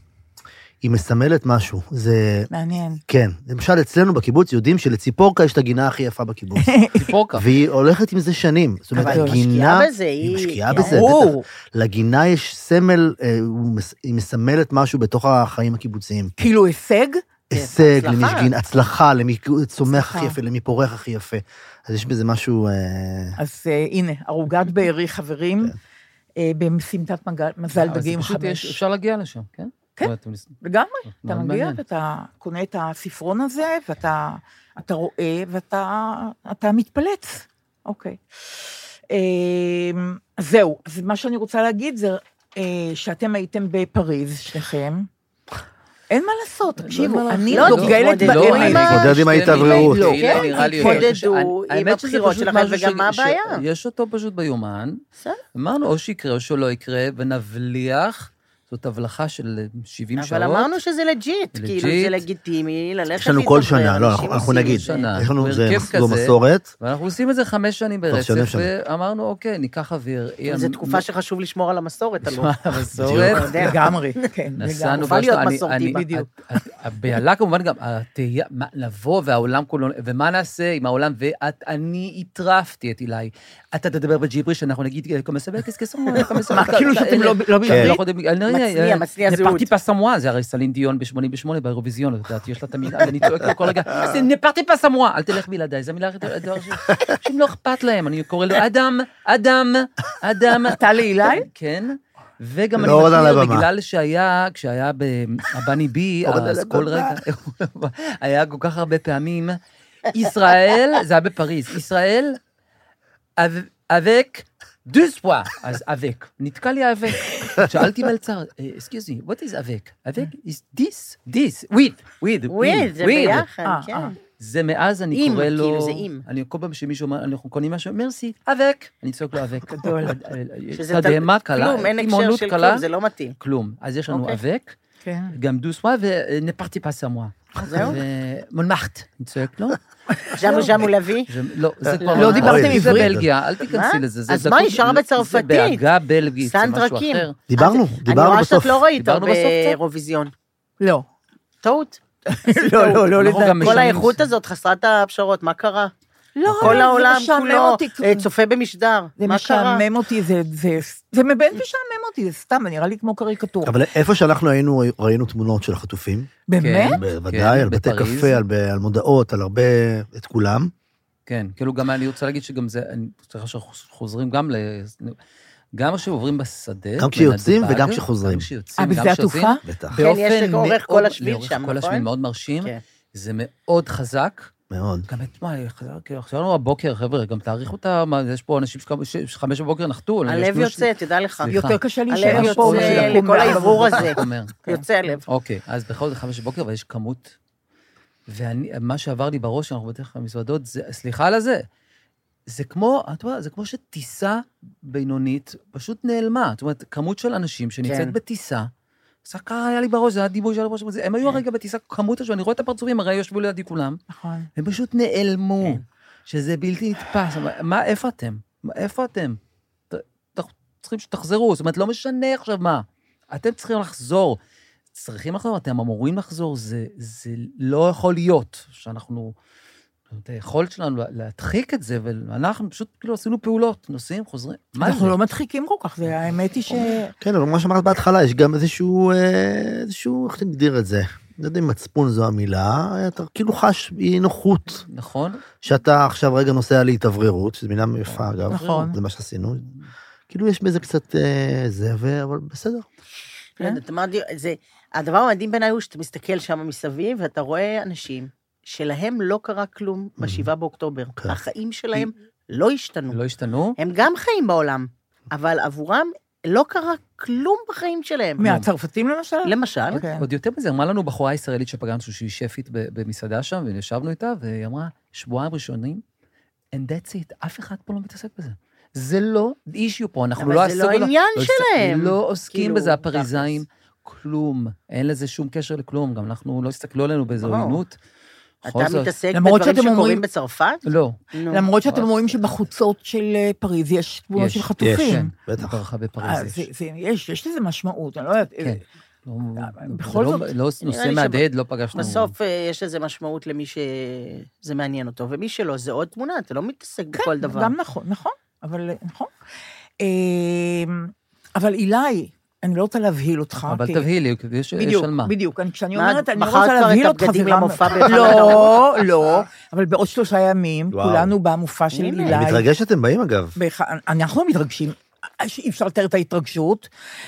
S5: היא מסמלת משהו. זה,
S3: מעניין.
S5: כן, למשל אצלנו בקיבוץ יודעים שלציפורקה יש את הגינה הכי יפה בקיבוץ.
S4: ציפורקה.
S5: והיא הולכת עם זה שנים. זאת אומרת,
S6: אבל היא
S5: הגינה...
S6: משקיעה בזה, היא-
S5: היא משקיעה
S6: כן.
S5: בזה,
S3: ברור.
S5: בטח. לגינה יש סמל, אה, הוא מס- היא מסמלת משהו בתוך החיים הקיבוציים.
S3: כאילו הישג,
S5: הישג, למי
S6: כן, הצלחה.
S5: שגין- הצלחה, למי צומח הכי
S3: הצלחה.
S5: יפה, למי פורח הכי יפה. אז יש בזה משהו... אה,
S3: אז אה, הנה, ערוגת בארי, חברים, אה, בסמטת מגל- מזל
S4: אבל כן. אה, זה
S3: דגים
S4: פשוט יש-
S3: חמש.
S4: אפשר להגיע לשם, כן?
S3: כן.
S4: זאת אומרת, אתם נס-
S3: לגמרי, אתה
S4: מאוד
S3: מגיע
S4: מעניין.
S3: ואתה קונה את הספרון הזה, ואתה אתה רואה, ואתה אתה מתפלץ. אוקיי. אמ, אז זהו, אז מה שאני רוצה להגיד זה אה, שאתם הייתם בפריז, שניכם. אין מה לעשות, תקשיבו,
S4: מה
S3: אני
S6: לא,
S3: דוגלת
S6: תתמודדו עם
S3: באמת.
S6: ה-
S5: מתמודד עם ההתאווררות.
S3: לא,
S4: כאילו,
S3: כן,
S4: נראה לי
S6: התמודדו
S4: יותר.
S6: עם
S4: האמת שזה
S6: הבחירות
S4: פשוט
S6: שלכם,
S4: משהו
S6: וגם מה
S4: ש-
S6: הבעיה?
S4: יש אותו פשוט ביומן.
S6: בסדר.
S4: אמרנו, או שיקרה או שלא יקרה, ונבליח. זאת הבלחה של 70 שעות.
S6: אבל אמרנו שזה לג'יט,
S4: לג'יט.
S6: כאילו זה לגיטימי ללכת
S5: יש לנו כל
S6: להתאוורר,
S5: שנה, לא,
S6: אנשים
S5: אנחנו- אנחנו
S6: עושים
S5: נגיד,
S6: את זה.
S4: שנה.
S5: יש לנו, זה
S4: בהרכב
S5: זו
S4: כזה.
S5: מסורת.
S4: ואנחנו עושים את זה חמש שנים
S5: כבר שנה
S4: ברצף,
S5: שם.
S4: ואמרנו, אוקיי, ניקח אוויר.
S6: זו תקופה לא- שחשוב לשמור על המסורת,
S4: אה,
S6: הלוא.
S4: המסורת.
S6: אתה יודע.
S3: לגמרי, כן, לגמרי.
S4: נסענו,
S6: חובה
S4: ואז
S6: להיות
S4: אני-
S6: מסורתי,
S4: אני-
S6: בדיוק.
S4: ה- ה- הבהלה כמובן גם, התהייה, מה- לבוא והעולם כולו, ומה נעשה עם העולם, ואני הטרפתי את אילי. אתה תדבר בג'יבריש, אנחנו נגיד, אה, "כמה סבל, כס כס אמור, כמה סבל,
S3: מה,
S4: כס-
S3: כאילו
S4: כס-
S3: שאתם
S4: אלה-
S3: לא- לא
S4: כן,
S3: בעברית?
S4: יכולים- אני- אה, אני-
S6: מצניע,
S4: אני-
S6: מצניע
S4: אני
S6: זהות.
S4: פרטי פסמואה, זה הרי סלין דיון ב-88 באירוויזיון, את יודעת, יש לה את המילה, ואני צועק לו כל רגע, "זה נפרטי פסמואה, אל תלך בלעדיי, זו המילה הכי דבר ש... אנשים לא אכפת להם, אני קורא לו, אדם, אדם, אדם.
S3: אתה לאילי?
S4: כן. וגם אני
S5: לא עוד על
S4: מכיר,
S5: הבמה.
S4: בגלל שהיה, כשהיה הבני בי,
S5: עוד על
S4: אז כל
S5: הבמה.
S4: רגע, היה כל כך הרבה פעמים, ישראל, זה היה בפריז, ישראל, אב- אבק, דוספואה, אז אבק, נתקע לי האבק. שאלתי מלצר, אסקיוזי, what is אבק? אבק is this, this, with, with,
S6: וויד, זה
S4: with.
S6: ביחד,
S3: אה,
S6: כן.
S3: אה.
S4: זה מאז אני
S6: עם,
S4: קורא
S6: כאילו,
S4: לו...
S6: זה עם.
S4: אני כל פעם שמישהו אומר, אנחנו קונים משהו, מרסי, אבק. אני צועק לו אבק. אה,
S3: גדול.
S6: שזה
S4: תדהמה קלה,
S6: כלום, אין הקשר
S4: תימהונות
S6: של
S4: קלה,
S6: כלום, זה לא מתאים.
S4: כלום. אז יש לנו
S6: אוקיי.
S4: אבק,
S3: כן.
S4: גם דוסווה ונפרטי פסמואה.
S6: זהו?
S4: ומונמחט, אני צועק לו.
S6: ז'אמו ז'אמו לוי.
S4: זה- לא, זה כבר...
S3: לא דיברתם
S4: אוי, זה
S3: עברית?
S4: בלגיה, אל תיכנסי
S6: מה?
S4: לזה. זה
S6: אז
S4: דקות-
S6: מה,
S4: לא,
S6: נשאר בצרפתית.
S4: זה בעגה בלגית, זה משהו
S6: סנטרקים.
S4: אחר.
S5: דיברנו,
S6: אני
S5: דיברנו
S6: רואה
S5: בסוף.
S6: שאת לא ראית
S4: דיברנו בסוף קצת?
S6: באירוויזיון.
S3: לא.
S6: טעות.
S3: לא, לא, לא
S4: אנחנו
S3: לדעת.
S4: גם
S6: כל
S4: משנים-
S6: האיכות הזאת חסרת הפשרות, מה קרה?
S3: לא,
S6: כל
S3: זה
S6: העולם
S3: משעמם
S6: כולו
S3: אותי.
S6: אה, צופה במשדר,
S3: זה
S6: מה קרה?
S3: משעמם אותי, זה, זה, זה מבין משעמם אותי, זה סתם, זה נראה לי כמו קריקטורה.
S5: אבל איפה שאנחנו היינו, ראינו תמונות של החטופים.
S6: כן,
S3: באמת? אה,
S6: אה?
S5: בוודאי, על בתי
S4: בפריז.
S5: קפה, על ב- על מודעות, על הרבה, את כולם.
S4: כן, כאילו גם אני רוצה להגיד שגם זה, אני צריך שאנחנו חוזרים גם ל... גם כשעוברים בשדה,
S5: גם כשיוצאים
S4: בנתב"ג,
S5: וגם כשחוזרים.
S4: גם כשיוצאים,
S3: אה,
S4: גם
S3: בשדה
S4: כשיוצאים,
S3: התעופה?
S5: בטח.
S6: כן, יש לאורך
S4: מאוד-
S6: כל השביל
S4: לאורך
S6: שם,
S4: כל השביל
S6: נכון?
S4: מאוד מרשים,
S6: כן.
S4: זה מאוד חזק.
S5: מאוד.
S4: גם אתמול, חזר- כאילו, חשבנו הבוקר, חבר'ה, גם תעריכו את ה... מה, יש פה אנשים שכמה- ש- שחמש בבוקר נחתו. אני-
S6: הלב
S4: ישנו ש-
S6: יוצא, תדע לך.
S4: סליחה.
S3: יותר קשה
S6: הלב
S3: להישאר פה. אה,
S6: יוצא
S3: לקום
S6: לכל
S3: בארבע
S6: האוורור
S3: בבוקר.
S6: הזה.
S4: אומר.
S3: כן.
S6: יוצא הלב.
S4: אוקיי, אז בכל זאת חמש בבוקר, אבל יש כמות. ומה שעבר לי בראש, אנחנו בדרך כלל במזוודות, זה, סליחה על הזה, זה כמו, את רואה, זה כמו שטיסה בינונית פשוט נעלמה. זאת אומרת, כמות של אנשים שנמצאת
S6: כן.
S4: בטיסה, זה ככה היה לי בראש, זה היה דימוי שהיה לי בראש, זה- הם היו
S6: כן.
S4: הרגע בטיסה, כמות השם, אני רואה את הפרצופים, הרי יושבו לידי כולם,
S3: נכון.
S4: הם פשוט נעלמו,
S3: כן.
S4: שזה בלתי נתפס. אבל מה, איפה אתם? מה- איפה אתם? ת- ת- צריכים שתחזרו, זאת אומרת, לא משנה עכשיו מה. אתם צריכים לחזור. צריכים לחזור, אתם אמורים לחזור, זה, זה לא יכול להיות שאנחנו... את היכולת שלנו לה- להדחיק את זה, ואנחנו פשוט כאילו עשינו פעולות, נוסעים, חוזרים. מה זה?
S3: אנחנו לא מדחיקים כל כך, זה- האמת היא ש...
S6: נכון.
S5: כן, אבל מה שאמרת בהתחלה, יש גם איזשהו, אה, איזשהו, איך נגדיר את זה? אני לא יודע אם מצפון זו המילה, אתה כאילו חש אי נוחות,
S4: נכון?
S5: שאתה עכשיו רגע נוסע להתאווררות, שזו מילה יפה אגב,
S3: נכון.
S5: זה מה שעשינו. כאילו יש בזה קצת אה, זה, ו- אבל בסדר.
S3: כן.
S6: לא יודעת, אמרתי, זה- הדבר המדהים בעיניי הוא שאתה מסתכל שם מסביב, ואתה רואה אנשים שלהם לא קרה כלום ב-7 באוקטובר.
S5: כן.
S6: החיים שלהם לא השתנו.
S4: Mm. אוקיי. לא השתנו.
S6: הם גם חיים בעולם, אבל עבורם לא קרה כלום בחיים שלהם.
S3: מהצרפתים למשל?
S6: למשל,
S4: עוד-
S3: כן.
S4: עוד יותר מזה, אמרה לנו בחורה ישראלית שפגשנו, שהיא שפית ב- במסעדה שם, וישבנו איתה, והיא אמרה, שבועיים ראשונים, and that's it, אף אחד פה לא מתעסק בזה. זה לא אישיו פה, אנחנו
S6: אבל
S4: לא
S6: זה
S4: עסוק...
S6: לא העניין שלהם.
S4: לא עוסקים
S6: כאילו,
S4: בזה, הפריזאים, כלום. אין לזה שום קשר לכלום, גם אנחנו, לא הסתכלו עלינו באיזו
S6: ברור.
S4: עוינות.
S6: אתה
S4: בכל זאת-
S6: מתעסק
S3: למרות
S6: בדברים
S3: שאתם
S6: שקורים
S3: אומרים-
S6: בצרפת?
S4: לא,
S6: נו.
S3: למרות שאתם
S6: נכון.
S4: אז-
S3: רואים שבחוצות של אה, פריז יש תמונות
S4: יש,
S3: של
S4: כן,
S5: יש,
S3: חטופים.
S5: בטח.
S4: ברכה
S3: אה,
S4: בפריז.
S3: זה-
S4: יש.
S3: זה- יש, יש לזה משמעות, אני לא יודעת.
S4: כן. לא- זה
S3: בכל
S4: לא-
S3: זאת,
S4: לא נושא
S6: לי
S4: מהדהד, לא פגשנו.
S6: בסוף אה, יש לזה משמעות למי שזה מעניין אותו, ומי שלא, זה עוד תמונה, אתה לא מתעסק בכל דבר.
S3: גם נכון, נכון, אבל אה, נכון. אמ, אבל אילי, אני לא רוצה להבהיל אותך.
S4: אבל
S6: אוקיי.
S3: כי-
S4: תבהי לי, יש יש
S3: בדיוק,
S4: על מה.
S3: בדיוק. אני- כשאני
S6: מה,
S3: אומרת, אני לא
S6: מכרת
S3: רוצה
S6: כבר את
S3: להבהיל אותך,
S6: הבגדים
S3: זה גם-
S6: למופע באחד
S3: לא, לא, אבל בעוד שלושה ימים,
S5: וואו.
S3: כולנו במופע של
S6: הנה.
S3: אילי.
S5: אני מתרגש שאתם באים אגב.
S3: בהח- אנחנו לא מתרגשים, אי אפשר לתאר את ההתרגשות,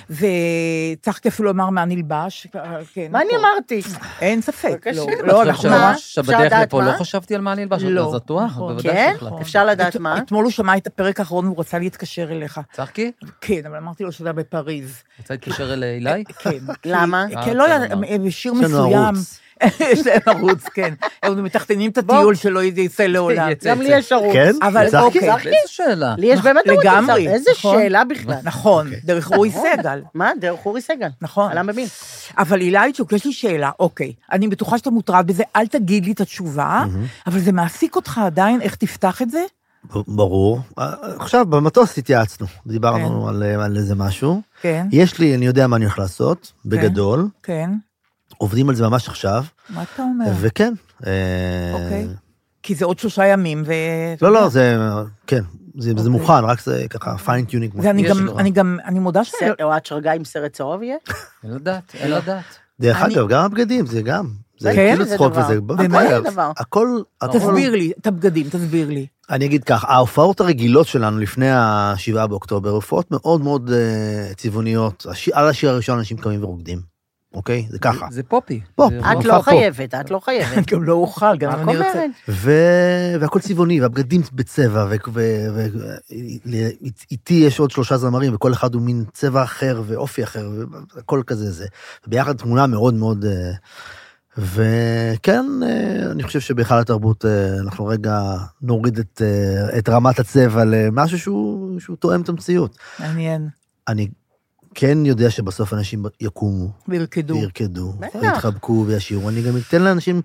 S3: וצריך אפילו לומר מה נלבש. כן,
S6: מה אני
S3: נכון.
S6: אמרתי?
S3: אין ספק,
S6: בבקשה.
S3: לא,
S4: לא,
S3: לא, אנחנו
S6: מה?
S4: ממש,
S6: אפשר
S4: שבדרך
S6: לדעת
S4: לפה
S6: מה?
S4: לא חשבתי על מה נלבש,
S3: לא.
S4: אז בטוח,
S3: נכון.
S4: בוודאי
S6: כן?
S4: שהחלטתי.
S6: אפשר לדעת מה?
S3: אתמול הוא שמע את הפרק האחרון והוא רצה להתקשר אליך.
S4: צחקי,
S3: כן, אבל אמרתי לו שזה היה בפריז.
S4: רוצה להתקשר אל
S6: אה,
S4: אילי? אוקיי,
S3: כן.
S6: למה?
S4: אה,
S3: כן, לא, יודעת, בשיר
S5: יש לנו
S3: מסוים.
S5: ערוץ.
S3: יש להם ערוץ, כן. הם מתחתנים את הטיול שלו, זה יצא לעולם.
S4: יצא.
S6: גם לי יש ערוץ.
S5: כן?
S3: אבל
S5: צחקי?
S3: אוקיי.
S4: איזה שאלה.
S6: לי יש באמת ערוץ.
S3: נכון. לגמרי,
S6: עכשיו, איזה
S3: נכון.
S6: שאלה בכלל.
S3: נכון,
S6: אוקיי.
S3: דרך אורי סגל.
S6: מה, דרך אורי סגל.
S3: נכון.
S6: עלה מבין.
S3: אבל אילייצ'וק, יש לי שאלה, אוקיי, אני בטוחה שאתה מוטרד בזה, אל תגיד לי את התשובה, אבל זה מעסיק אותך עדיין, איך תפתח את זה?
S5: ברור. אה, עכשיו במטוס התייעצנו, דיברנו על, אה, על איזה משהו.
S3: כן,
S5: יש לי, אני יודע מה אני הולך לעשות, בגדול,
S3: כן,
S5: עובדים על זה ממש עכשיו,
S3: מה אתה אומר?
S5: וכן. אה,
S3: אוקיי. כי זה עוד שלושה ימים, ו...
S5: לא, לא, זה, כן, זה, זה
S3: אוקיי.
S5: מוכן, רק זה ככה פיינטיונינג.
S3: זה אני גם, אני גם, אני מודה
S6: סר-
S3: שאני לא...
S6: אוהד שרגא עם סרט צהוב יהיה?
S4: אין לדעת,
S6: לא.
S4: אין לדעת.
S5: דרך
S3: אני-
S5: אגב, גם הבגדים, זה גם. זה
S3: כן,
S5: כאילו
S6: זה
S5: צחוק
S6: דבר.
S5: וזה,
S6: באמת?
S5: הכל-
S6: זה דבר.
S5: הכל, הכל,
S3: תסביר לי, את הבגדים, תסביר לי.
S5: אני אגיד כך, ההופעות הרגילות שלנו לפני השבעה באוקטובר, הופעות מאוד מאוד אה, צבעוניות, הש- על השיר הראשון אנשים קמים ורוקדים, אוקיי? זה ככה.
S4: זה פופי.
S5: בוא,
S4: זה
S5: את
S4: רוק.
S6: את
S5: מופע
S6: לא
S5: פה.
S6: חייבת, את לא חייבת.
S3: גם לא אוכל, גם
S6: רק
S3: אם אני רוצה.
S6: אומרת.
S5: ו... והכל צבעוני, והבגדים בצבע, ואיתי ו... ו... ל- איתי יש עוד שלושה זמרים, וכל אחד הוא מין צבע אחר ואופי אחר, והכל כזה זה. ביחד תמונה מאוד מאוד... אה, וכן, אה, אני חושב שבהיכל התרבות אה, אנחנו רגע נוריד את, אה, את רמת הצבע למשהו שהוא, שהוא תואם את המציאות.
S3: מעניין,
S5: אני כן יודע שבסוף אנשים יקומו
S3: וירקדו.
S5: וירקדו,
S6: בטח.
S5: ויתחבקו וישירו, אני גם אתן לאנשים,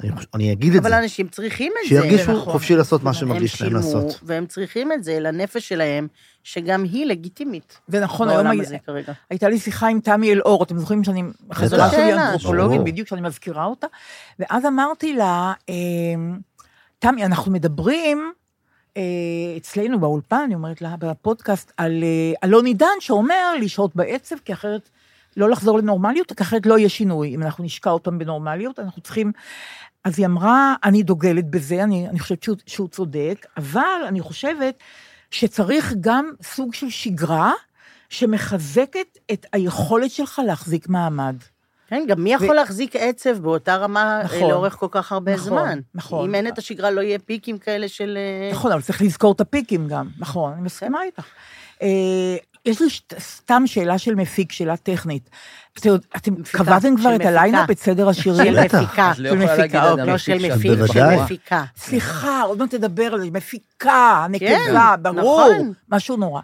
S5: אני, חוש... אני אגיד את
S6: אבל
S5: זה.
S6: אנשים צריכים את זה.
S5: שירגישו
S3: נכון.
S5: חופשי לעשות מה
S6: הם
S5: שמרגיש להם
S6: שילמו,
S5: לעשות.
S6: והם צריכים את זה לנפש שלהם, שגם היא לגיטימית.
S3: זה נכון, היום
S6: בעולם
S3: הי-
S6: הזה כרגע.
S3: הייתה לי שיחה עם תמי אלאור, אתם זוכרים שאני חזרה שלי
S6: שאלה.
S3: אנתרופולוגית,
S5: ברור.
S3: בדיוק שאני מזכירה אותה, ואז אמרתי לה, אמ, תמי, אנחנו מדברים אה, אצלנו באולפן, אני אומרת לה, בפודקאסט, על אה, אלון עידן, שאומר לשהות בעצב, כי אחרת, לא לחזור לנורמליות, כי אחרת לא יהיה שינוי. אם אנחנו נשקע אותם בנורמליות, אנחנו צריכים... אז היא אמרה, אני דוגלת בזה, אני, אני חושבת שהוא, שהוא צודק, אבל אני חושבת שצריך גם סוג של שגרה שמחזקת את היכולת שלך להחזיק מעמד.
S6: כן, גם מי יכול להחזיק עצב באותה רמה אה,
S3: נכון.
S6: לאורך כל כך הרבה
S3: נכון,
S6: זמן?
S3: נכון.
S6: אם אין את השגרה, לא יהיה פיקים כאלה של... אה,
S3: נכון, אבל צריך לזכור את הפיקים גם. נכון, אני מסכימה איתך. אה, יש לי שת- סתם שאלה של מפיק, שאלה טכנית. אתם יודע- אתם
S6: מפיקה,
S3: קבעתם כבר
S6: של
S3: את
S6: מפיקה.
S3: הליינאפ, את סדר השירים?
S6: של
S5: בטח.
S6: מפיקה.
S4: את לא
S3: של
S4: יכולה
S3: מפיקה,
S4: להגיד
S3: או
S4: אדם
S6: לא של
S4: מפיק
S6: מפיק,
S4: שם.
S6: של
S5: בוודאי.
S6: מפיקה.
S3: סליחה, עוד מעט תדבר על זה, מפיקה, נקבה,
S6: כן,
S3: ברור,
S6: נכון.
S3: משהו נורא.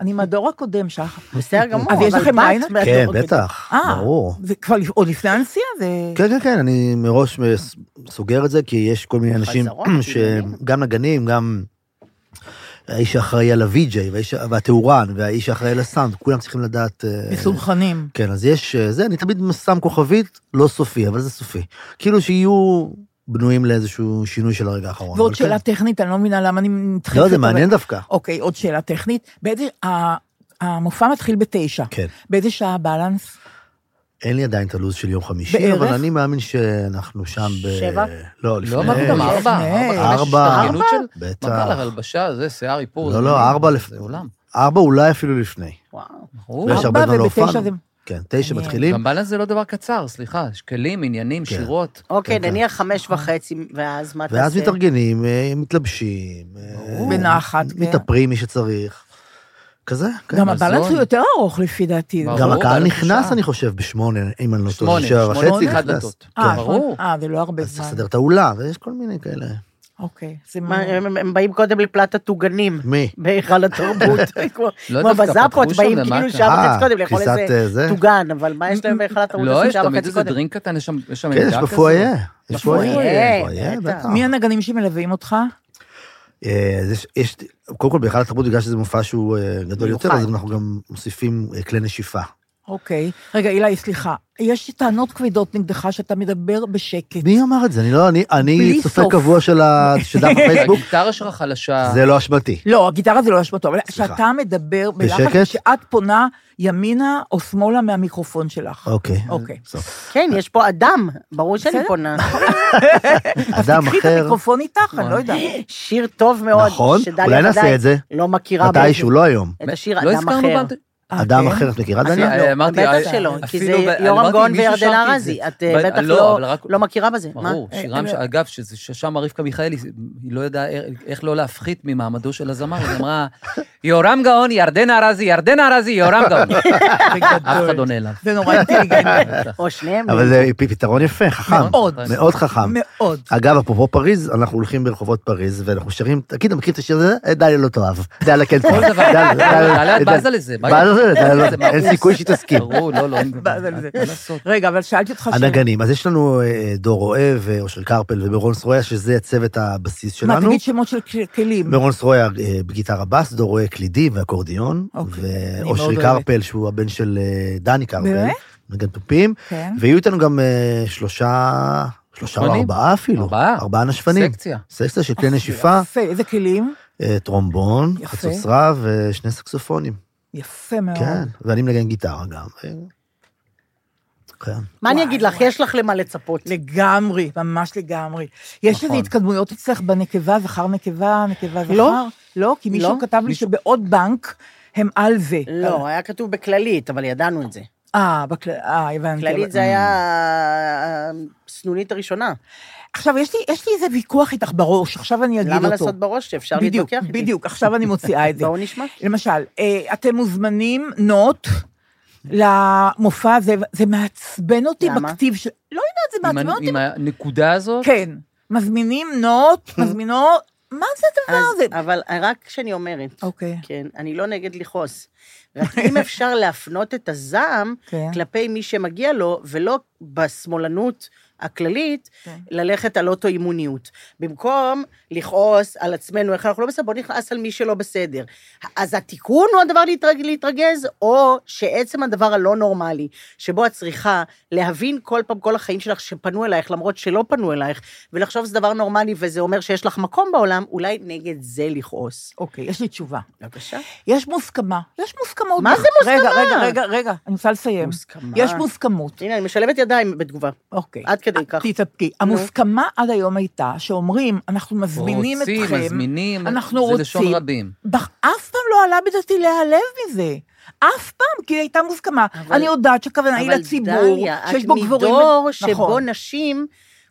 S3: אני מהדור הקודם שלך.
S6: בסדר גמור,
S3: אז יש לכם
S6: באת
S3: ליינאפ?
S6: מהדור
S5: כן,
S6: הקודם.
S5: בטח,
S3: אה,
S5: ברור.
S3: זה כבר לפ- עוד לפני הנסיעה? זה...
S5: כן, כן, כן, אני מראש מס- סוגר את זה, כי יש כל מיני אנשים
S6: חזרות, כאילו. עניינים.
S5: שגם נגנים, גם האיש האחראי על הווי-ג'יי, והאיש- והטהורן, והאיש האחראי על הסאונד, כולם צריכים לדעת... אה,
S3: מסונכנים.
S5: כן, אז יש אה, זה, אני תמיד שם כוכבית, לא סופי, אבל זה סופי. כאילו שיהיו בנויים לאיזשהו שינוי של הרגע האחרון.
S3: ועוד
S5: אבל כן.
S3: שאלה טכנית, אני לא מבינה למה אני נדחפת.
S5: לא, זה
S3: אבל-
S5: מעניין דווקא.
S3: אוקיי, עוד שאלה טכנית. באיזה... ה- המופע מתחיל בתשע.
S5: כן.
S3: באיזה שעה הבלנס?
S5: אין לי עדיין את הלו"ז של יום חמישי,
S3: בערך?
S5: אבל אני מאמין שאנחנו שם ב...
S6: שבע?
S5: לא, לפני...
S4: לא אמרנו גם
S3: לפני.
S4: ארבע, ארבע, חמש,
S5: ארבע.
S4: התארגנות של...
S5: בטח.
S4: מה קרה לך, הלבשה, זה, שיער, איפור.
S5: לא,
S4: זה-
S5: לא, ארבע לפ-
S4: זה עולם.
S5: ארבע אולי אפילו לפני.
S6: וואו.
S4: ברור.
S5: ויש הרבה
S3: ארבע
S5: זמן לא
S3: ובתשע
S5: הופענו.
S3: זה-
S5: כן, תשע
S3: מעניין.
S5: מתחילים.
S4: גם בלנס זה לא דבר קצר, סליחה, יש כלים, עניינים,
S5: כן.
S4: שירות.
S6: אוקיי,
S5: כן, כן.
S6: נניח חמש וחצי, ואז מה תעשה?
S5: ואז מתארגנים, אה, מתלבשים, אה,
S3: בנחת,
S5: מתאפרים מי שצריך, כזה. כן.
S3: גם
S4: מזון.
S3: הבלנס הוא יותר ארוך לפי דעתי.
S4: ברור.
S5: גם הקהל
S4: אבל
S5: נכנס,
S4: שעה.
S5: אני חושב, בשמונה, אם אני לא טועה,
S4: שמונה,
S5: שבע
S4: שמונה,
S5: וחצי כן.
S4: אחד
S5: נכנס.
S4: דלתות.
S3: אה,
S4: כן, ברור.
S6: נכון.
S3: אה, זה לא הרבה
S5: אז צריך
S3: זמן.
S5: לסדר את האולם, ויש כל מיני כאלה.
S3: אוקיי, זה
S6: מה,
S3: מעניין.
S6: הם הם- הם באים קודם לפלטת עוגנים.
S5: מי?
S6: בהיכל התרבות. כמו-
S4: לא
S6: כמו
S4: דווקא,
S6: בזאפות,
S4: פתחו שם
S6: באים
S4: למטה.
S6: כאילו שעה וחצי קודם לאכול
S5: כניסת,
S6: איזה
S5: אה, זה.
S6: טוגן, אבל מה יש להם בהיכל התרבות?
S4: לא,
S6: עושים
S4: יש
S6: שעה
S4: תמיד
S6: וחצי
S4: איזה
S6: קודם.
S4: דרינק קטן, יש שם יש שם
S5: כן, יש
S4: עמדה כזו.
S5: בפואיה. יש
S4: בפואיה,
S5: פואיה,
S6: בטח.
S5: בטח.
S3: מי הנגנים שמלווים אותך?
S5: אה, אז יש, יש, קודם כל, בהיכל התרבות, בגלל שזה מופע שהוא אה, גדול יותר,
S6: מיוחד.
S5: אז אנחנו גם מוסיפים אה, כלי נשיפה.
S3: אוקיי. רגע, אילי, סליחה. יש טענות כבדות נגדך שאתה מדבר בשקט.
S5: מי אמר את זה? אני לא, אני, אני
S3: כן. בלי
S5: צופה
S3: סוף.
S5: קבוע של ה- של דף הפייסבוק,
S4: הגיטרה כן, שלך חלשה.
S5: זה לא אשמתי.
S3: לא, הגיטרה זה לא אשמתו, אבל
S5: סליחה.
S3: כשאתה מדבר
S5: בשקט?
S3: בלחץ, כשאת פונה ימינה או שמאלה מהמיקרופון שלך.
S5: אוקיי.
S3: אוקיי.
S6: כן, יש פה אדם, ברור שאני
S3: בסדר.
S6: פונה.
S5: אדם
S3: קחי אוקיי. את
S5: אחר,
S3: המיקרופון איתך, אני לא יודעת.
S6: שיר טוב מאוד.
S5: נכון,
S6: שדליה
S5: אולי נעשה
S6: ודאי
S5: את זה.
S6: לא מכירה
S5: מתישהו,
S6: באיזה-
S5: לא היום.
S6: את השיר
S4: לא
S6: אדם
S4: הזכרנו
S6: אחר.
S4: בת-
S3: אה,
S5: אדם
S3: כן?
S5: אחר, את מכירה,
S6: אני
S5: דניאל?
S4: לא, אמרתי,
S3: בטח
S4: אה,
S3: שלא,
S6: כי
S4: אפילו
S6: זה
S4: ב-
S6: יורם
S4: אמרתי,
S6: גאון
S4: מישהו
S6: וירדן
S4: שרתי את
S6: ארזי,
S4: זה.
S6: את אה,
S4: ב-
S6: בטח
S4: לא,
S6: לא-
S4: אבל רק-
S6: לא מכירה בזה. מה?
S4: ברור,
S3: אה,
S4: שירם,
S3: אה,
S4: ש- אגב, שזה ששם רבקה מיכאלי, זה- היא לא ידעה אה, איך לא להפחית ממעמדו של הזמר, היא אמרה, יורם גאון, ירדן ארזי, ירדן ארזי, יורם גאון. אף אחד לא נעלב.
S3: זה נורא אינטליגנטי.
S6: או שניהם.
S5: אבל זה פ- פתרון יפה, חכם.
S3: מאוד.
S5: מאוד חכם.
S3: מאוד.
S5: אגב, אפרופו פריז, אנחנו הולכים ברחובות פריז, ואנחנו שרים, תגיד, אתה מכיר את השיר הזה? אה, דליה לא תאהב. דליה כן תאהב.
S4: כל דבר. דליה, את בזה לזה, מה-
S5: בזה לזה, דליה
S4: זה
S5: לא-
S4: מאוס.
S5: אין סיכוי שהיא תסכים.
S4: ברור, לא, לא, אין
S3: באז על זה.
S4: מה לעשות.
S3: רגע, אבל שאלתי אותך שאלה.
S5: הנגנים, אז יש לנו אה, דור אוהב, אה, אושר קרפל ומירון סרויה, שזה צוות הבסיס
S3: מה,
S5: שלנו.
S3: תגיד שמות של כל- כלים.
S5: מירון סרויה אה, בגיטרה בס, דור אוהב קלידים ואקורדיון,
S3: אוקיי, אני מאוד
S5: ואושרי
S3: אוהבת.
S5: קרפל, שהוא הבן של אה, דני קרפל,
S3: באמת?
S5: נגן תופים,
S3: כן.
S5: ויהיו איתנו גם אה, שלושה, שלושה או
S4: נשפנים?
S5: ארבעה אפילו,
S4: ארבעה?
S5: ארבעה נשפנים.
S4: סקציה.
S5: סקציה של כלי נשיפה,
S3: אה, יפה, איזה כלים?
S5: אה, טרומבון,
S3: יפה. אה.
S5: חצוצרה ושני סקסופונים.
S3: יפה מאוד.
S5: כן, ואני מנגן גיטרה גם. אה, כן.
S6: מה אני
S3: וואי,
S6: אגיד לך,
S3: וואי.
S6: יש לך למה לצפות.
S3: לגמרי, ממש לגמרי. יש איזה התקדמויות אצלך בנקבה, זכר נקבה, נקבה זכר?
S6: לא.
S3: לא, כי מישהו
S6: לא.
S3: כתב לי שבעוד בנק הם על זה.
S6: לא, היה כתוב בכללית, אבל ידענו את זה.
S3: אה, בכל- אה, הבנתי.
S4: לא-
S6: כללית זה היה הסנונית הראשונה.
S3: עכשיו, יש לי- יש לי איזה ויכוח איתך בראש, עכשיו אני אגיד אותו.
S6: למה לעשות בראש שאפשר
S3: בדיוק,
S6: להתווכח איתי? לא,
S3: בדיוק, עכשיו אני מוציאה את זה.
S6: בואו נשמע.
S3: למשל, אה, אתם מוזמנים, נוט, למופע הזה, זה מעצבן אותי
S6: למה?
S3: בכתיב של... לא יודעת, זה
S4: עם
S3: מעצבן
S4: ה-
S3: אותי.
S4: עם הנקודה הזאת,
S3: כן, מזמינים נוט, מזמינות, מה זה הדבר
S6: אז-
S3: הזה?
S6: אבל רק כשאני אומרת,
S3: אוקיי.
S6: כן, אני לא נגד לכעוס. רק אם אפשר להפנות את הזעם
S3: כן.
S6: כלפי מי שמגיע לו, ולא בשמאלנות הכללית,
S3: כן.
S6: ללכת על אוטואימוניות. במקום לכעוס על עצמנו, איך אנחנו לא בסדר, בוא נכעס על מי שלא בסדר. אז התיקון הוא הדבר להתרג, להתרגז, או שעצם הדבר הלא נורמלי, שבו את צריכה להבין כל פעם, כל החיים שלך שפנו אלייך, למרות שלא פנו אלייך, ולחשוב שזה דבר נורמלי וזה אומר שיש לך מקום בעולם, אולי נגד זה לכעוס.
S3: אוקיי, יש לי תשובה.
S6: בבקשה.
S3: יש מוסכמה, יש מוסכמות.
S6: מה זה
S3: רגע,
S6: מוסכמה?
S3: רגע, רגע, רגע, אני רוצה לסיים.
S6: מוסכמה.
S3: יש מוסכמות,
S6: הנה, אני משלבת ידיים בתגובה.
S3: אוקיי.
S6: עד כדי כך.
S3: תתאפקי. המוסכמה עד היום הייתה שאומרים, אנחנו מזמינים
S4: רוצים,
S3: אתכם.
S4: מזמינים,
S3: אנחנו
S4: זה לשון
S3: רוצים.
S4: רבים.
S3: בח- אף פעם לא עלה בדעתי להיעלב מזה. אף פעם, כי היא הייתה מוסכמה.
S6: אבל-
S3: אני יודעת שהכוונה היא
S6: אבל
S3: לציבור,
S6: דליה,
S3: שיש בו
S6: את
S3: גברים...
S6: מדור שבו
S3: נכון.
S6: נשים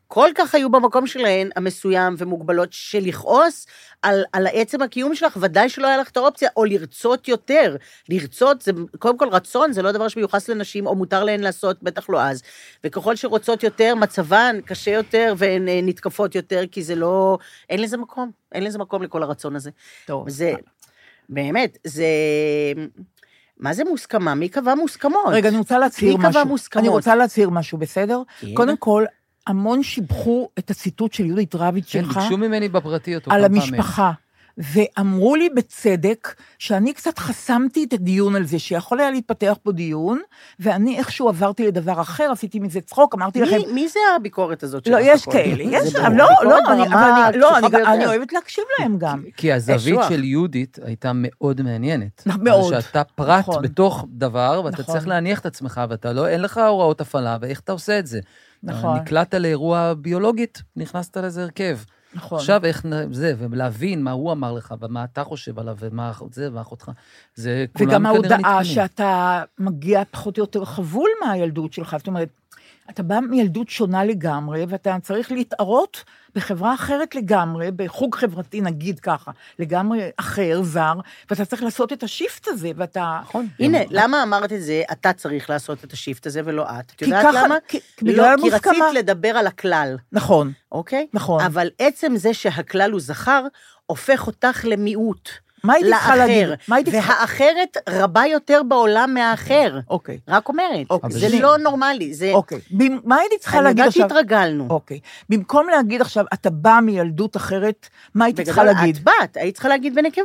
S6: כל כך היו במקום שלהן, המסוים ומוגבלות, שלכעוס על, על עצם הקיום שלך, ודאי שלא היה לך את האופציה, או לרצות יותר. לרצות, זה, קודם כל רצון, זה לא דבר שמיוחס לנשים, או מותר להן לעשות, בטח לא אז. וככל שרוצות יותר, מצבן קשה יותר, והן אה, נתקפות יותר, כי זה לא... אין לזה מקום, אין לזה מקום לכל הרצון הזה.
S3: טוב,
S6: זה, באמת, זה... מה זה מוסכמה? מי קבע מוסכמות?
S3: רגע, אני רוצה להצהיר
S6: מי קבע
S3: משהו.
S6: מוסכמות?
S3: אני רוצה להצהיר משהו, בסדר?
S6: כן.
S3: קודם כל, המון שיבחו את הציטוט של יהודית רביץ
S4: כן,
S3: שלך.
S4: ביקשו ממני בפרטי אותו
S3: על
S4: כמה פעמים.
S3: המשפחה. ואמרו לי בצדק שאני קצת חסמתי את הדיון על זה, שיכול היה להתפתח פה דיון, ואני איכשהו עברתי לדבר אחר, עשיתי מזה צחוק, אמרתי לכם...
S6: מי, מי זה הביקורת הזאת
S3: לא,
S6: שלך
S3: יש
S6: הכל?
S3: כאלה, יש,
S6: זה
S3: אבל
S6: ברור.
S3: לא, לא,
S6: ביקורת
S3: אני- אבל
S6: ברמה
S3: אני- לא, אני
S6: הקשוחה
S3: גם- אני
S6: ביותר. אה,
S3: אוהבת להקשיב להם גם.
S4: כי הזווית
S6: שואה.
S4: של יהודית הייתה מאוד מעניינת.
S3: נכון, מאוד,
S4: אבל שאתה פרט
S3: נכון.
S4: בתוך דבר, ואתה
S3: נכון.
S4: צריך להניח את עצמך, ואתה לא, אין לך הוראות הפעלה, ואיך אתה עושה את זה.
S3: נכון.
S4: נקלעת לאירוע ביולוגית, נכנסת לאיזה הרכב.
S3: נכון.
S4: עכשיו איך נ- זה, ולהבין מה הוא אמר לך, ומה אתה חושב עליו, ומה אח- זה, ומה אחותך. זה כולם
S3: וגם
S4: כנראה
S3: ההודעה
S4: נתקנים.
S3: שאתה מגיע פחות או יותר חבול מהילדות שלך, זאת אומרת, אתה בא מילדות שונה לגמרי, ואתה צריך להתערות בחברה אחרת לגמרי, בחוג חברתי, נגיד ככה, לגמרי אחר, זר, ואתה צריך לעשות את השיפט הזה, ואתה... נכון.
S6: הנה, למה אמרת את זה? אתה צריך לעשות את השיפט הזה ולא את. את
S3: כי
S6: יודעת
S3: ככה-
S6: למה?
S3: כי- כי
S6: לא,
S3: בגלל
S6: כי רצית
S3: המוסכמה.
S6: לדבר על הכלל,
S3: נכון,
S6: אוקיי?
S3: נכון.
S6: אבל עצם זה שהכלל הוא זכר, הופך אותך למיעוט,
S3: מה הייתי צריכה להגיד?
S6: לאחר.
S3: מה הייתי צריכה...
S6: והאחרת רבה יותר בעולם מהאחר.
S3: אוקיי,
S6: רק אומרת,
S3: אוקיי.
S6: זה
S3: אבל-
S6: לא נורמלי, זה...
S3: אוקיי. במ- מה הייתי צריכה
S6: אני
S3: להגיד
S6: יודעת
S3: עכשיו?
S6: שהתרגלנו.
S3: אוקיי. במקום להגיד עכשיו, אתה בא מילדות אחרת, מה הייתי צריכה
S6: בגדול,
S3: להגיד?
S6: את באת, היית צריכה להגיד בנקבה.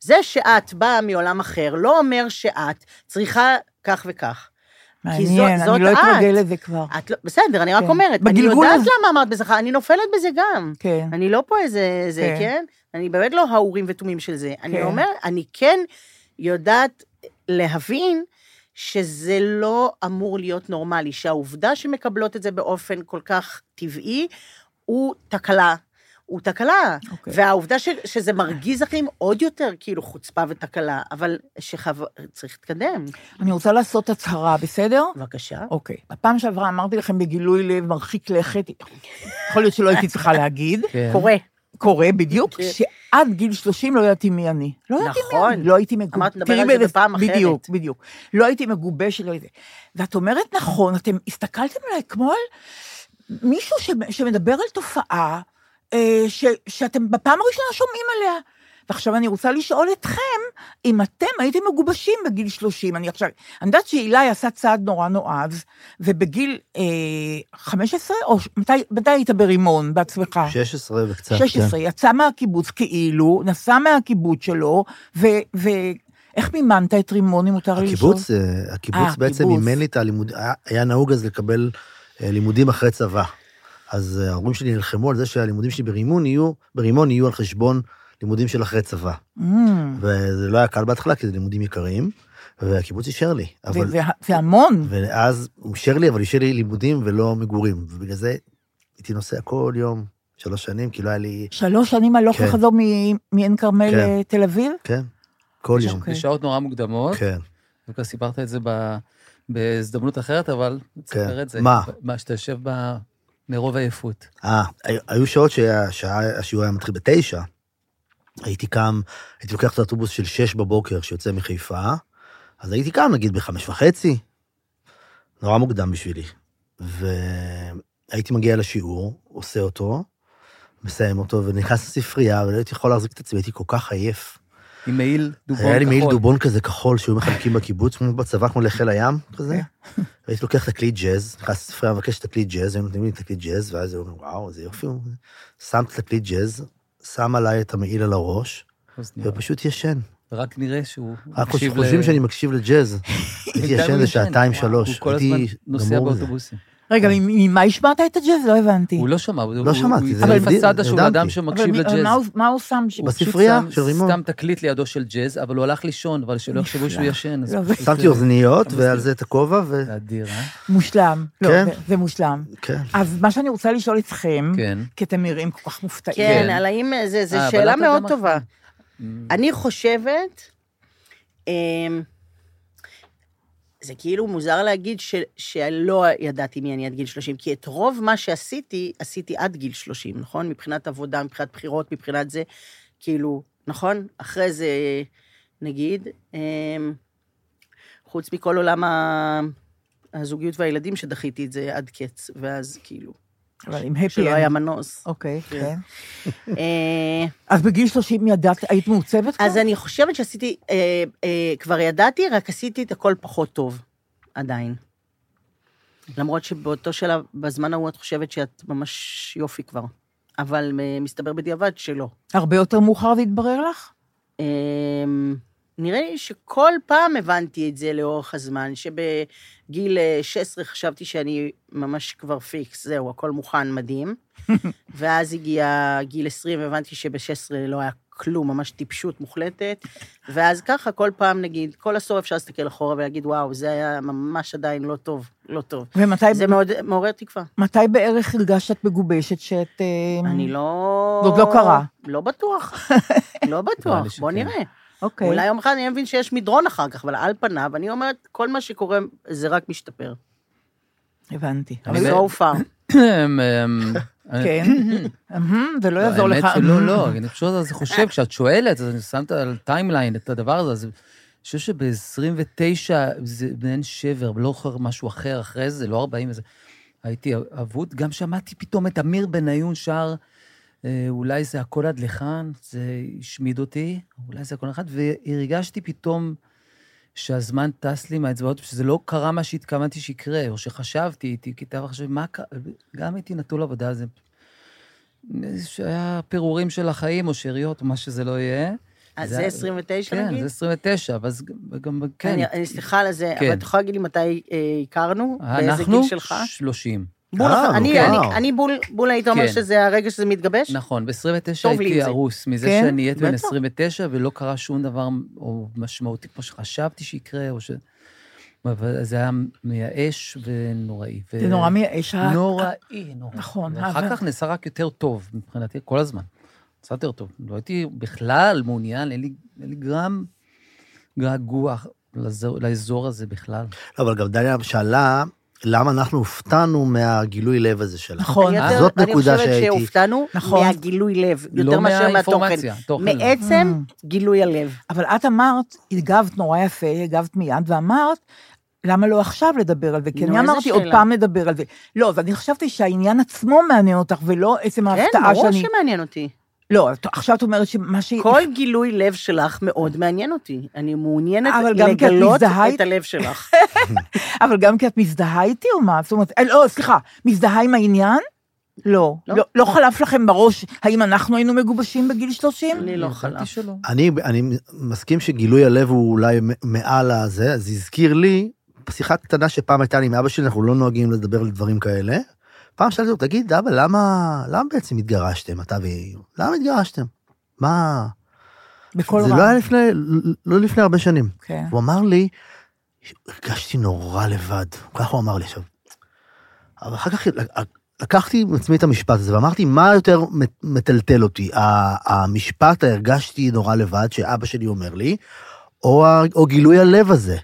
S6: זה שאת באה מעולם אחר, לא אומר שאת צריכה כך וכך. כי זו-
S3: מעניין,
S6: זאת
S3: אני לא
S6: את.
S3: אתרגל לזה כבר.
S6: את לא, בסדר, אני רק
S3: כן.
S6: אומרת, אני
S3: בגלגול
S6: יודעת
S3: הזה-
S6: למה אמרת בזכר, אני נופלת בזה גם.
S3: כן.
S6: אני לא פה איזה, זה,
S3: כן.
S6: כן? אני באמת לא האורים ותומים של זה. אני
S3: כן.
S6: אומרת, אני כן יודעת להבין שזה לא אמור להיות נורמלי, שהעובדה שמקבלות את זה באופן כל כך טבעי, הוא תקלה. הוא תקלה.
S3: אוקיי.
S6: והעובדה ש, שזה מרגיז אחרים עוד יותר, כאילו, חוצפה ותקלה, אבל שחו... צריך להתקדם.
S3: אני רוצה לעשות הצהרה, בסדר?
S6: בבקשה.
S3: אוקיי. בפעם שעברה אמרתי לכם בגילוי לב מרחיק לכת, יכול להיות שלא הייתי צריכה להגיד,
S4: כן.
S6: קורה.
S3: קורה בדיוק,
S6: כן.
S3: שעד גיל 30 לא ידעתי מי אני. לא ידעתי מי אני.
S6: נכון.
S3: לא הייתי מגובשת.
S6: אמרת, נדבר על זה בפעם אחרת.
S3: בדיוק, בדיוק. לא הייתי מגובשת. לא הייתי- ואת אומרת, נכון, אתם הסתכלתם עליי כמו על מישהו ש- שמדבר על תופעה אה, ש- שאתם בפעם הראשונה שומעים עליה. ועכשיו אני רוצה לשאול אתכם, אם אתם הייתם מגובשים בגיל 30, אני עכשיו, אני יודעת שאילי עשה צעד נורא נועז, ובגיל אה, 15, או ש- מתי, מתי היית ברימון בעצמך?
S5: 16 וקצת. כן.
S3: 16, יצא מהקיבוץ כאילו, נסע מהקיבוץ שלו, ו... ו... איך מימנת את רימון, אם מותר
S5: כן.
S3: לי לשאול?
S5: הקיבוץ, אה, הקיבוץ
S3: אה,
S5: בעצם
S3: הקיבוץ.
S5: אימן לי את הלימוד... היה- היה נהוג אז לקבל אה, לימודים אחרי צבא. אז אה, ההורים שלי נלחמו על זה שהלימודים שלי ברימון יהיו, ברימון יהיו על חשבון לימודים של אחרי צבא.
S3: Mm,
S5: וזה לא היה קל בהתחלה, כי זה לימודים יקרים, והקיבוץ אישר לי. אבל...
S3: זה- זה- זה המון.
S5: ואז הוא אישר לי, אבל אישר לי לימודים ולא מגורים. ובגלל זה הייתי נוסע כל יום, שלוש שנים, כי לא היה לי...
S3: שלוש שנים הלוך
S5: כן.
S3: וחזור מ- מעין כרמל
S5: כן.
S3: לתל אביב?
S5: כן, כל יום.
S3: אוקיי.
S4: בשעות נורא מוקדמות.
S5: כן,
S4: וכבר סיפרת את זה ב... בהזדמנות אחרת, אבל תספר את זה.
S5: כן. מה?
S4: מה, שאתה יושב ב... מרוב עייפות.
S5: אה, היו- היו שעות שהשעה- השיעור היה מתחיל בתשע. הייתי קם, הייתי לוקח את האוטובוס של שש בבוקר שיוצא מחיפה, אז הייתי קם נגיד בחמש וחצי, נורא מוקדם בשבילי. והייתי מגיע לשיעור, עושה אותו, מסיים אותו, ונכנס לספרייה, ולא הייתי יכול להחזיק את עצמי, הייתי כל כך עייף.
S4: עם מעיל דובון כחול.
S5: היה לי מעיל דובון כזה כחול שהיו מחלקים בקיבוץ, כמו בצבא, כמו לחיל הים, כזה.
S4: כן.
S5: והייתי לוקח את הכלי ג'אז, נכנס לספרייה, מבקש את הכלי ג'אז, היו נותנים לי את הכלי ג'אז, ואז היו אומרים, וואו, איזה יופי. הוא." שמתי את הכלי ג'אז, שם עליי את המעיל על הראש,
S4: אוזניות.
S5: ופשוט ישן.
S4: רק נראה שהוא
S5: רק
S4: לא. מקשיב
S5: חושבים
S4: ל-
S5: שאני מקשיב לג'אז. הייתי
S4: בינתיים
S5: ישן
S4: הוא
S5: איזה
S4: ישן.
S5: שעתיים,
S4: וואו,
S5: שלוש.
S4: הוא כל הזמן
S5: הייתי
S4: נוסע
S5: גמור בזה.
S4: באוטובוסים.
S5: כן.
S3: רגע, ממה השמעת את הג'אז? לא הבנתי.
S4: הוא לא שמע, הוא-
S5: לא
S4: הוא-
S5: שמעתי, זה
S4: הוא
S5: הבדיל,
S4: התפס הצד שהוא
S5: נרדמתי.
S4: אדם
S3: אבל
S4: שמקשיב
S3: מי-
S4: לג'אז.
S3: מה הוא- מה הוא שם שם?
S4: הוא פשוט
S5: בספרייה
S4: שם-
S5: של רימון.
S4: שם תקליט לידו של ג'אז, אבל הוא הלך לישון, אבל שלא יחשבו שהוא
S3: נפלא.
S4: ישן. אז
S3: לא,
S4: פשוט-
S5: שמתי אוזניות,
S4: אתה
S5: ועל
S4: מסתיר.
S5: זה את הכובע,
S4: זה אדיר, אה?
S3: מושלם. לא,
S5: כן.
S3: זה- זה מושלם.
S5: וכן.
S3: אז מה שאני רוצה לשאול אתכם,
S4: כן.
S3: כי אתם נראים כל כך מופתעים.
S6: כן, על האם... זה- זו
S4: אה, אבל
S6: שאלה
S4: את עוד
S6: מאוד
S4: אמרת.
S6: טובה.
S4: אמ,
S6: אני חושבת, אמ, זה כאילו מוזר להגיד ש, שלא ידעתי מי אני עד גיל 30, כי את רוב מה שעשיתי, עשיתי עד גיל 30, נכון? מבחינת עבודה, מבחינת בחירות, מבחינת זה, כאילו, נכון? אחרי זה, נגיד, אמ, חוץ מכל עולם ה- הזוגיות והילדים, שדחיתי את זה עד קץ, ואז כאילו,
S3: אבל עם happy
S6: שלא היה
S3: end.
S6: מנוס.
S3: אוקיי, כן.
S6: אה,
S3: אז בגיל 30 ידעת, היית מעוצבת כבר?
S6: אז אני חושבת שעשיתי, אה, אה, כבר ידעתי, רק עשיתי את הכל פחות טוב, עדיין. למרות שבאותו שלב, בזמן ההוא את חושבת שאת ממש יופי כבר. אבל אה, מסתבר בדיעבד שלא.
S3: הרבה יותר מאוחר זה התברר לך?
S6: אה, נראה לי שכל פעם הבנתי את זה לאורך הזמן, שבגיל אה, 16 חשבתי שאני ממש כבר פיקס, זהו, הכל מוכן, מדהים. ואז הגיע גיל 20, הבנתי שב-16 לא היה כלום, ממש טיפשות מוחלטת. ואז ככה, כל פעם, נגיד, כל עשור אפשר להסתכל אחורה ולהגיד, וואו, זה היה ממש עדיין לא טוב, לא טוב.
S3: ומתי
S6: זה מאוד מעורר תקווה.
S3: מתי בערך הרגשת שאת מגובשת, שאת... אה,
S6: אני לא...
S3: זה עוד לא קרה.
S6: לא בטוח. לא
S4: נראה לי
S6: בטוח,
S4: שכן.
S6: בוא נראה.
S3: אוקיי.
S6: אולי יום אחד אני מבין שיש מדרון אחר כך, אבל על פניו, אני אומרת, כל מה שקורה, זה רק משתפר.
S3: הבנתי.
S4: אני
S6: So far.
S4: אמ, אמ,
S3: כן. אהם, זה לא
S4: לא,
S3: יעזור לך.
S4: האמת שלא, לא, אני פשוט אז חושב, כשאת שואלת, אז אני שם את הטיימליין, את הדבר הזה, אז אני חושב שב-29 זה מעין שבר, לא זוכר משהו אחר אחרי זה, לא 40 וזה. הייתי אבוד, גם שמעתי פתאום את אמיר בניון שר, אה, אולי זה הכל עד לכאן, זה השמיד אותי, אולי זה הכל עד לכאן, והרגשתי פתאום שהזמן טס לי מהאצבעות, שזה לא קרה מה שהתכוונתי שיקרה, או שחשבתי, הייתי כיתה וחשבתי, מה קרה? גם הייתי נטול עבודה, זה שהיה פירורים של החיים, או שאריות, או מה שזה לא יהיה.
S6: אז אה, זה 29
S4: כן,
S6: נגיד?
S4: זה 29, אבל זה גם, כן.
S6: אני- אני סליחה על הזה,
S4: כן.
S6: אבל את יכולה להגיד לי מתי אה, הכרנו? באיזה
S4: אנחנו אה,
S6: גיל שלך?
S4: 30.
S6: בול,
S5: אה,
S6: אני-
S5: אוקיי.
S6: אני- אני בול, בול היית אומר
S4: כן.
S6: שזה הרגע שזה מתגבש?
S4: נכון, ב-29
S6: טוב לי עם
S4: הייתי
S6: זה.
S4: הרוס מזה
S3: כן?
S4: שאני הייתי בן
S6: בטח.
S4: 29, ולא קרה שום דבר או משמעותי כמו שחשבתי שיקרה, או ש... אבל זה היה מייאש ונוראי. ו-
S3: זה נורא מייאש. ה-
S4: נוראי, נוראי.
S3: נכון, אבל-
S4: ואחר כך נעשה רק יותר טוב, מבחינתי, כל הזמן. נעשה יותר טוב. לא הייתי בכלל מעוניין, אין לי- אין לי גרם געגוע לזו- לאזור הזה בכלל.
S5: לא, אבל גם דליה שאלה, למה אנחנו הופתענו מהגילוי לב הזה שלה.
S3: נכון.
S6: אני
S5: אה,
S6: יותר-
S5: זאת נקודה
S6: אני
S5: שהייתי-
S6: חושבת שהופתענו
S3: נכון.
S6: מהגילוי לב, יותר
S4: לא
S6: מאשר מהתוכן.
S4: מהאינפורמציה, תוכן לא.
S6: מעצם גילוי הלב.
S3: אבל את אמרת, הגבת נורא יפה, הגבת מיד, ואמרת, למה לא עכשיו לדבר על זה? כי
S6: נו,
S3: אני
S6: איזה
S3: אמרתי עוד
S6: שאלה.
S3: פעם לדבר על זה. לא, אז אני חשבתי שהעניין עצמו מעניין אותך, ולא עצם
S6: כן,
S3: ההפתעה
S6: ברור
S3: שאני...
S6: שמעניין אותי.
S3: לא, את- עכשיו את אומרת שמה ש...
S6: כל גילוי לב שלך מאוד מעניין אותי. אני מעוניינת
S3: אבל גם כי את
S6: לגלות
S3: מזדהה
S6: את הלב שלך.
S3: אבל גם כי את מזדהה איתי או מה? זאת אומרת, אה, לא, סליחה, מזדהה עם העניין? לא.
S6: לא.
S3: לא- לא חלף לכם בראש האם אנחנו היינו מגובשים בגיל 30?
S6: אני לא חלף.
S4: ידעתי שלא.
S5: אני, אני מסכים שגילוי הלב הוא אולי מ- מעל הזה, אז הזכיר לי שיחה קטנה שפעם הייתה לי עם אבא שלי, אנחנו לא נוהגים לדבר על דברים כאלה. פעם שאלתי אותו, תגיד, אבא, למה, למה בעצם התגרשתם, אתה והיא? למה התגרשתם? מה?
S3: בכל
S5: זה
S3: רע.
S5: לא היה לפני, לא לפני הרבה שנים.
S3: כן.
S5: הוא אמר לי, הרגשתי נורא לבד, ככה הוא אמר לי עכשיו. אבל אחר כך לקחתי עם עצמי את המשפט הזה ואמרתי, מה יותר מטלטל אותי, ה- המשפט הרגשתי נורא לבד שאבא שלי אומר לי, או, ה- או גילוי הלב הזה,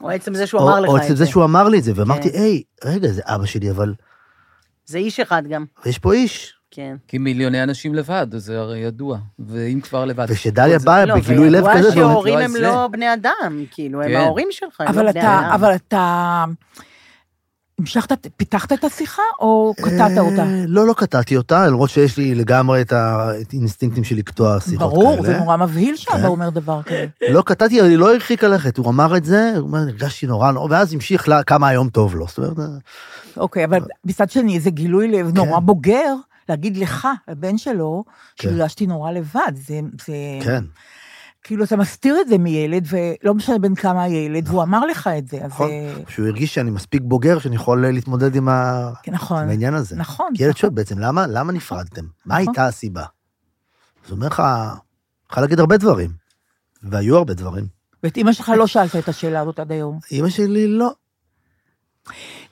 S6: או עצם זה שהוא
S5: או,
S6: אמר לך
S5: או
S6: את
S5: עצם
S6: זה.
S5: זה שהוא אמר לי את זה, ואמרתי,
S6: כן.
S5: היי, רגע, זה אבא שלי, אבל
S6: זה איש אחד גם,
S5: יש פה איש.
S6: כן.
S4: כי מיליוני אנשים לבד, זה הרי ידוע. ואם כבר לבד.
S5: ושדליה
S4: זה-
S6: לא,
S5: באה אה, בגילוי לב
S6: וידוע
S5: כזה, ואומרת,
S6: שההורים
S4: לא
S6: הם
S4: זה.
S6: לא בני אדם, כאילו, הם
S4: כן.
S6: ההורים שלך, הם
S3: אבל
S6: לא בני
S3: אתה,
S6: אדם.
S3: אבל אתה... המשכת, פיתחת את השיחה או קטעת
S5: אה,
S3: אותה?
S5: לא, לא קטעתי אותה, למרות שיש לי לגמרי את האינסטינקטים של לקטוע שיחות כאלה.
S3: ברור, זה נורא מבהיל שאבא
S5: כן.
S3: אומר דבר כזה.
S5: לא קטעתי, אבל היא לא הרחיקה לכת, הוא אמר את זה, הוא אומר, הרגשתי נורא נורא, ואז המשיך לה כמה היום טוב לו, זאת אומרת,
S3: אוקיי,
S5: כן.
S3: אבל מצד שני, זה גילוי לב נורא בוגר, להגיד לך, לבן שלו,
S5: כן.
S3: שהרגשתי נורא לבד. זה, זה,
S5: כן.
S3: כאילו, אתה מסתיר את זה מילד, ולא משנה בין כמה הילד, והוא אמר לך את זה, אז...
S5: נכון.
S3: אה,
S5: שהוא הרגיש שאני מספיק בוגר שאני יכול אה, להתמודד עם ה-
S3: כן, נכון.
S5: עם העניין הזה.
S3: נכון.
S5: כי ילד שואל בעצם, למה למה נפרדתם? מה
S3: נכון.
S5: הייתה הסיבה? אז הוא אומר לך, יכול להגיד הרבה דברים, והיו הרבה דברים.
S3: ואת אימא שלך לא שאלת את השאלה הזאת עד היום.
S5: אמא שלי לא.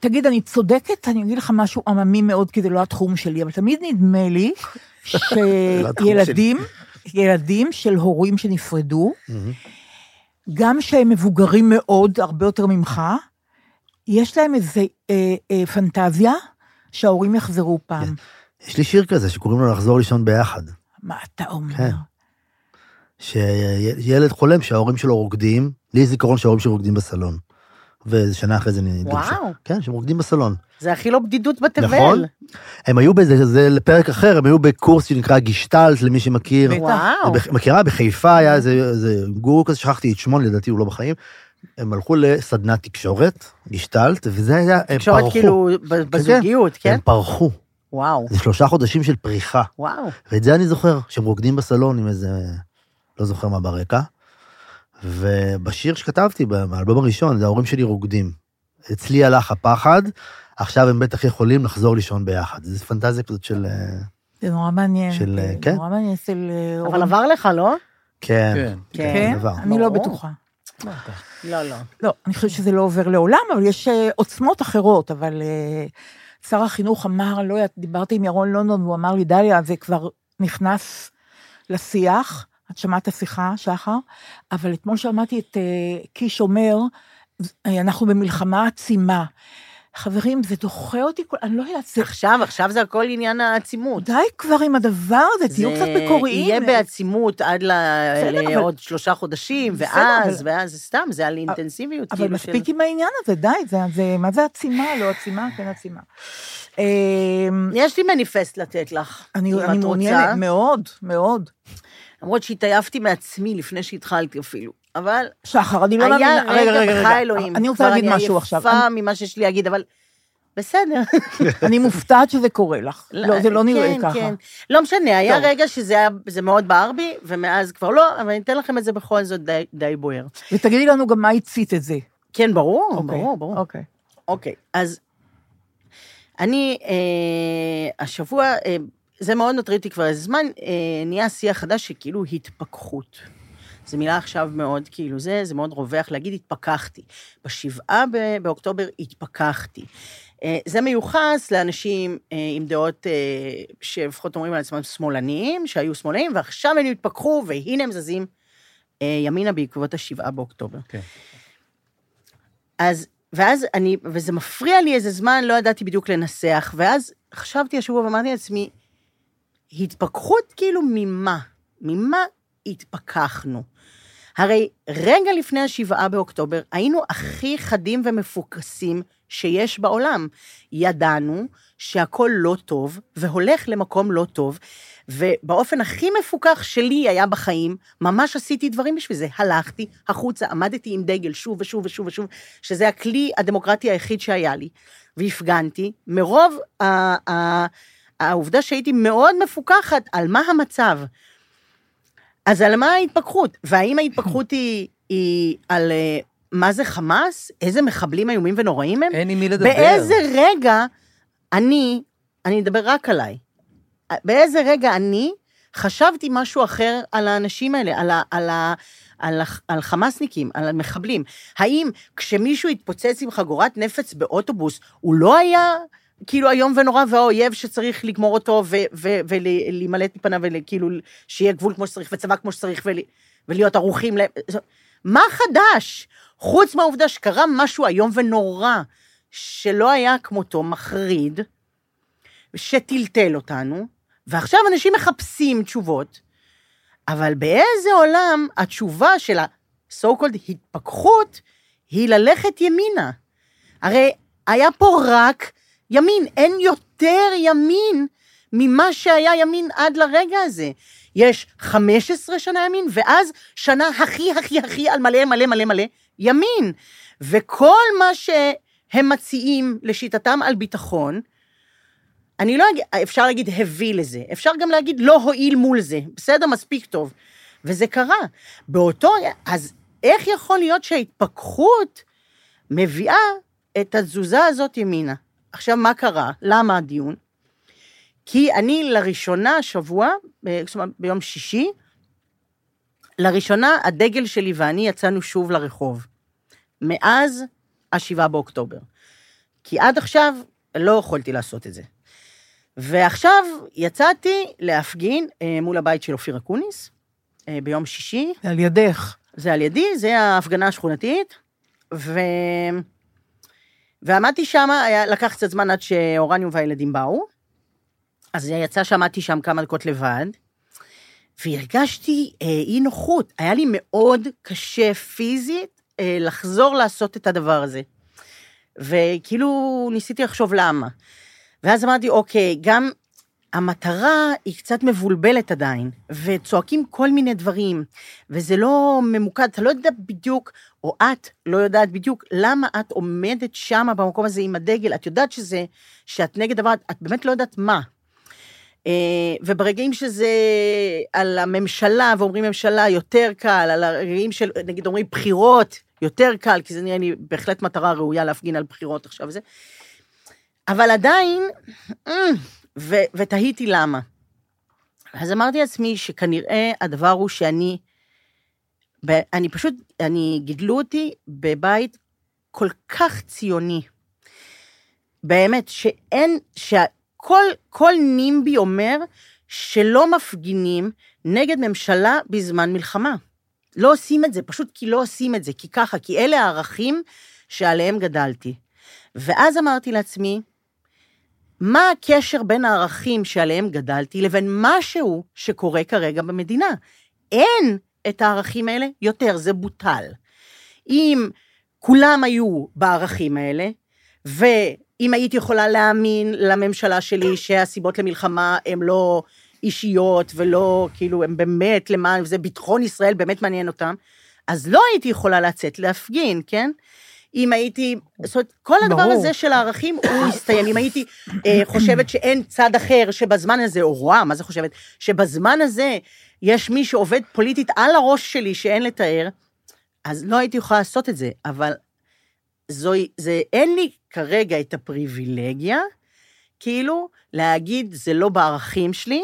S3: תגיד, אני צודקת? אני אגיד לך משהו עממי מאוד, כי זה לא התחום שלי, אבל תמיד נדמה לי
S5: לא התחום שלי.
S3: שילדים, ילדים של הורים שנפרדו, גם שהם מבוגרים מאוד, הרבה יותר ממך, יש להם איזו אה, אה, פנטזיה שההורים יחזרו
S5: כן.
S3: פעם.
S5: יש לי שיר כזה שקוראים לו לחזור לישון ביחד.
S3: מה אתה אומר?
S5: כן. שילד חולם שההורים שלו רוקדים, לי יש זיכרון שההורים שלי רוקדים בסלון. ושנה אחרי זה נדעו
S6: וואו.
S5: ש- כן, שהם רוקדים בסלון.
S6: זה הכי לא בדידות בתבל.
S5: נכון. הם היו באיזה, זה לפרק אחר, הם היו בקורס שנקרא גישטלט, למי שמכיר.
S3: בטח.
S6: וואו.
S5: זה בח- מכירה? בחיפה היה איזה איזה גורו כזה, שכחתי את שמו, לדעתי הוא לא בחיים. הם הלכו לסדנת תקשורת, גשטלט, וזה היה, הם פרחו.
S6: תקשורת כאילו ב- בזוגיות, כן?
S5: הם פרחו.
S6: וואו.
S5: זה שלושה חודשים של פריחה.
S6: וואו.
S5: ואת זה אני זוכר, שהם רוקדים בסלון עם איזה, לא זוכר מה ברקע. ובשיר שכתבתי, באלבום הראשון, זה ההורים שלי רוקדים. אצלי הלך הפחד, עכשיו הם בטח יכולים לחזור לישון ביחד. זו פנטזיה כזאת של... אה,
S3: זה נורא מעניין.
S5: של,
S3: זה
S5: כן.
S3: נורא מעניין אצל אה,
S6: אבל עבר לך, לא?
S5: כן.
S4: כן.
S3: כן?
S5: עבר.
S3: אני לא
S6: ברור.
S3: בטוחה.
S6: לא, לא.
S3: לא, אני חושבת שזה לא עובר לעולם, אבל יש אה, עוצמות אחרות, אבל אה, שר החינוך אמר, לא יודעת, דיברתי עם ירון לונדון, והוא אמר לי, דליה, זה כבר נכנס לשיח, את שמעת את השיחה, שחר, אבל אתמול שמעתי את אה, קיש אומר, אה, אנחנו במלחמה עצימה. חברים, זה דוחה אותי, כל- אני לא יודעת, זה...
S6: עכשיו, עכשיו זה הכל עניין העצימות.
S3: די כבר עם הדבר הזה, תהיו
S6: זה
S3: קצת מקוריים. אה.
S6: יהיה בעצימות עד ל-
S3: בסדר, אבל-
S6: לעוד שלושה חודשים,
S3: בסדר,
S6: ואז,
S3: אבל-
S6: ואז, סתם, זה על אינטנסיביות.
S3: אבל
S6: כאילו,
S3: מספיק
S6: של-
S3: עם העניין הזה, די, זה, זה, מה זה עצימה, לא עצימה, כן עצימה. אה,
S6: יש לי מניפסט לתת לך, אם
S3: אני,
S6: את
S3: אני
S6: רוצה.
S3: מעוניינת מאוד, מאוד.
S6: למרות שהתעייפתי מעצמי לפני שהתחלתי אפילו. אבל
S3: שחר, אני לא
S6: היה
S3: מאמינה, רגע, רגע,
S6: רגע,
S3: רגע,
S6: בחי אלוהים.
S3: אני רוצה
S6: כבר
S3: להגיד משהו עכשיו.
S6: אני עייפה ממה שיש לי להגיד, אבל בסדר.
S3: אני- אני מופתעת שזה קורה לך. לא, זה לא נראה
S6: כן,
S3: ככה.
S6: כן. לא משנה, היה
S3: טוב.
S6: רגע שזה היה- זה מאוד בער בי, ומאז כבר לא, אבל אני אתן לכם את זה בכל זאת די- די בוער.
S3: ותגידי לנו גם מה הצית את זה.
S6: כן, ברור,
S3: אוקיי,
S6: ברור, ברור.
S3: אוקיי.
S6: אוקיי, אז אני, אה, השבוע, אה, זה מאוד מטריד אותי כבר איזה זמן, אה, נהיה שיח חדש שכאילו כאילו התפכחות. זו מילה עכשיו מאוד, כאילו זה, זה מאוד רווח להגיד התפכחתי. בשבעה ב- באוקטובר התפכחתי. אה, זה מיוחס לאנשים אה, עם דעות אה, שלפחות אומרים על עצמם שמאלנים, שהיו שמאלנים, ועכשיו הם התפכחו, והנה הם זזים אה, ימינה בעקבות השבעה באוקטובר.
S4: כן.
S6: אז, ואז אני, וזה מפריע לי איזה זמן, לא ידעתי בדיוק לנסח, ואז חשבתי השבוע ואמרתי לעצמי, התפכחות כאילו ממה? ממה התפכחנו? הרי רגע לפני השבעה באוקטובר היינו הכי חדים ומפוקסים שיש בעולם. ידענו שהכל לא טוב והולך למקום לא טוב, ובאופן הכי מפוקח שלי היה בחיים, ממש עשיתי דברים בשביל זה. הלכתי החוצה, עמדתי עם דגל שוב ושוב ושוב ושוב, שזה הכלי הדמוקרטי היחיד שהיה לי, והפגנתי, מרוב ה- ה- העובדה שהייתי מאוד מפוקחת על מה המצב. אז על מה ההתפכחות? והאם ההתפכחות היא, היא על אה, מה זה חמאס? איזה מחבלים איומים ונוראים הם?
S4: אין עם מי לדבר.
S6: באיזה רגע אני, אני אדבר רק עליי, באיזה רגע אני חשבתי משהו אחר על האנשים האלה, על, ה, על, ה, על, ה, על חמאסניקים, על המחבלים. האם כשמישהו התפוצץ עם חגורת נפץ באוטובוס, הוא לא היה כאילו איום ונורא והאויב שצריך לגמור אותו ו- ו- ולהימלט מפניו וכאילו שיהיה גבול כמו שצריך וצבא כמו שצריך ול- ולהיות ערוכים ל... מה חדש? חוץ מהעובדה שקרה משהו איום ונורא, שלא היה כמותו מחריד, שטלטל אותנו, ועכשיו אנשים מחפשים תשובות, אבל באיזה עולם התשובה של ה-so called התפכחות היא ללכת ימינה? הרי היה פה רק ימין, אין יותר ימין ממה שהיה ימין עד לרגע הזה. יש 15 שנה ימין, ואז שנה הכי הכי הכי על מלא מלא מלא מלא ימין. וכל מה שהם מציעים לשיטתם על ביטחון, אני לא אגיד, אפשר להגיד הביא לזה, אפשר גם להגיד לא הועיל מול זה, בסדר, מספיק טוב. וזה קרה. באותו, אז איך יכול להיות שההתפכחות מביאה את התזוזה הזאת ימינה? עכשיו, מה קרה? למה הדיון? כי אני לראשונה השבוע, אה, זאת אומרת, ביום שישי, לראשונה הדגל שלי ואני יצאנו שוב לרחוב. מאז השבעה באוקטובר. כי עד עכשיו לא יכולתי לעשות את זה. ועכשיו יצאתי להפגין אה, מול הבית של אופיר אקוניס, אה, ביום שישי,
S3: על ידך.
S6: זה על ידי, זה ההפגנה השכונתית, ו... ועמדתי שם, היה- לקח קצת זמן עד שאורניום והילדים באו, אז יצא שעמדתי שם כמה דקות לבד, והרגשתי אה, אי נוחות, היה לי מאוד קשה פיזית אה, לחזור לעשות את הדבר הזה. וכאילו ניסיתי לחשוב למה. ואז אמרתי, אוקיי, גם המטרה היא קצת מבולבלת עדיין, וצועקים כל מיני דברים, וזה לא ממוקד, אתה לא יודע בדיוק, או את לא יודעת בדיוק, למה את עומדת שם במקום הזה עם הדגל, את יודעת שזה, שאת נגד דבר, את באמת לא יודעת מה. אה, וברגעים שזה על הממשלה, ואומרים ממשלה, יותר קל, על הרגעים של, נגיד אומרים בחירות, יותר קל, כי זה נראה לי בהחלט מטרה ראויה להפגין על בחירות עכשיו וזה. אבל עדיין, אמ, ו- ותהיתי למה. אז אמרתי לעצמי שכנראה הדבר הוא שאני, ב- אני פשוט, אני, גידלו אותי בבית כל כך ציוני. באמת, שאין, שכל כל נימבי אומר שלא מפגינים נגד ממשלה בזמן מלחמה. לא עושים את זה, פשוט כי לא עושים את זה, כי ככה, כי אלה הערכים שעליהם גדלתי. ואז אמרתי לעצמי, מה הקשר בין הערכים שעליהם גדלתי לבין משהו שקורה כרגע במדינה? אין את הערכים האלה יותר, זה בוטל. אם כולם היו בערכים האלה, ואם הייתי יכולה להאמין לממשלה שלי שהסיבות למלחמה הן לא אישיות ולא, כאילו, הן באמת למען, וזה ביטחון ישראל באמת מעניין אותם, אז לא הייתי יכולה לצאת להפגין, כן? אם הייתי, זאת אומרת, כל הדבר
S3: ברור.
S6: הזה של הערכים הוא הסתיים. אם הייתי אה, חושבת שאין צד אחר שבזמן הזה, או רואה, מה זה חושבת? שבזמן הזה יש מי שעובד פוליטית על הראש שלי שאין לתאר, אז לא הייתי יכולה לעשות את זה, אבל זוהי, זה, אין לי כרגע את הפריבילגיה, כאילו, להגיד, זה לא בערכים שלי,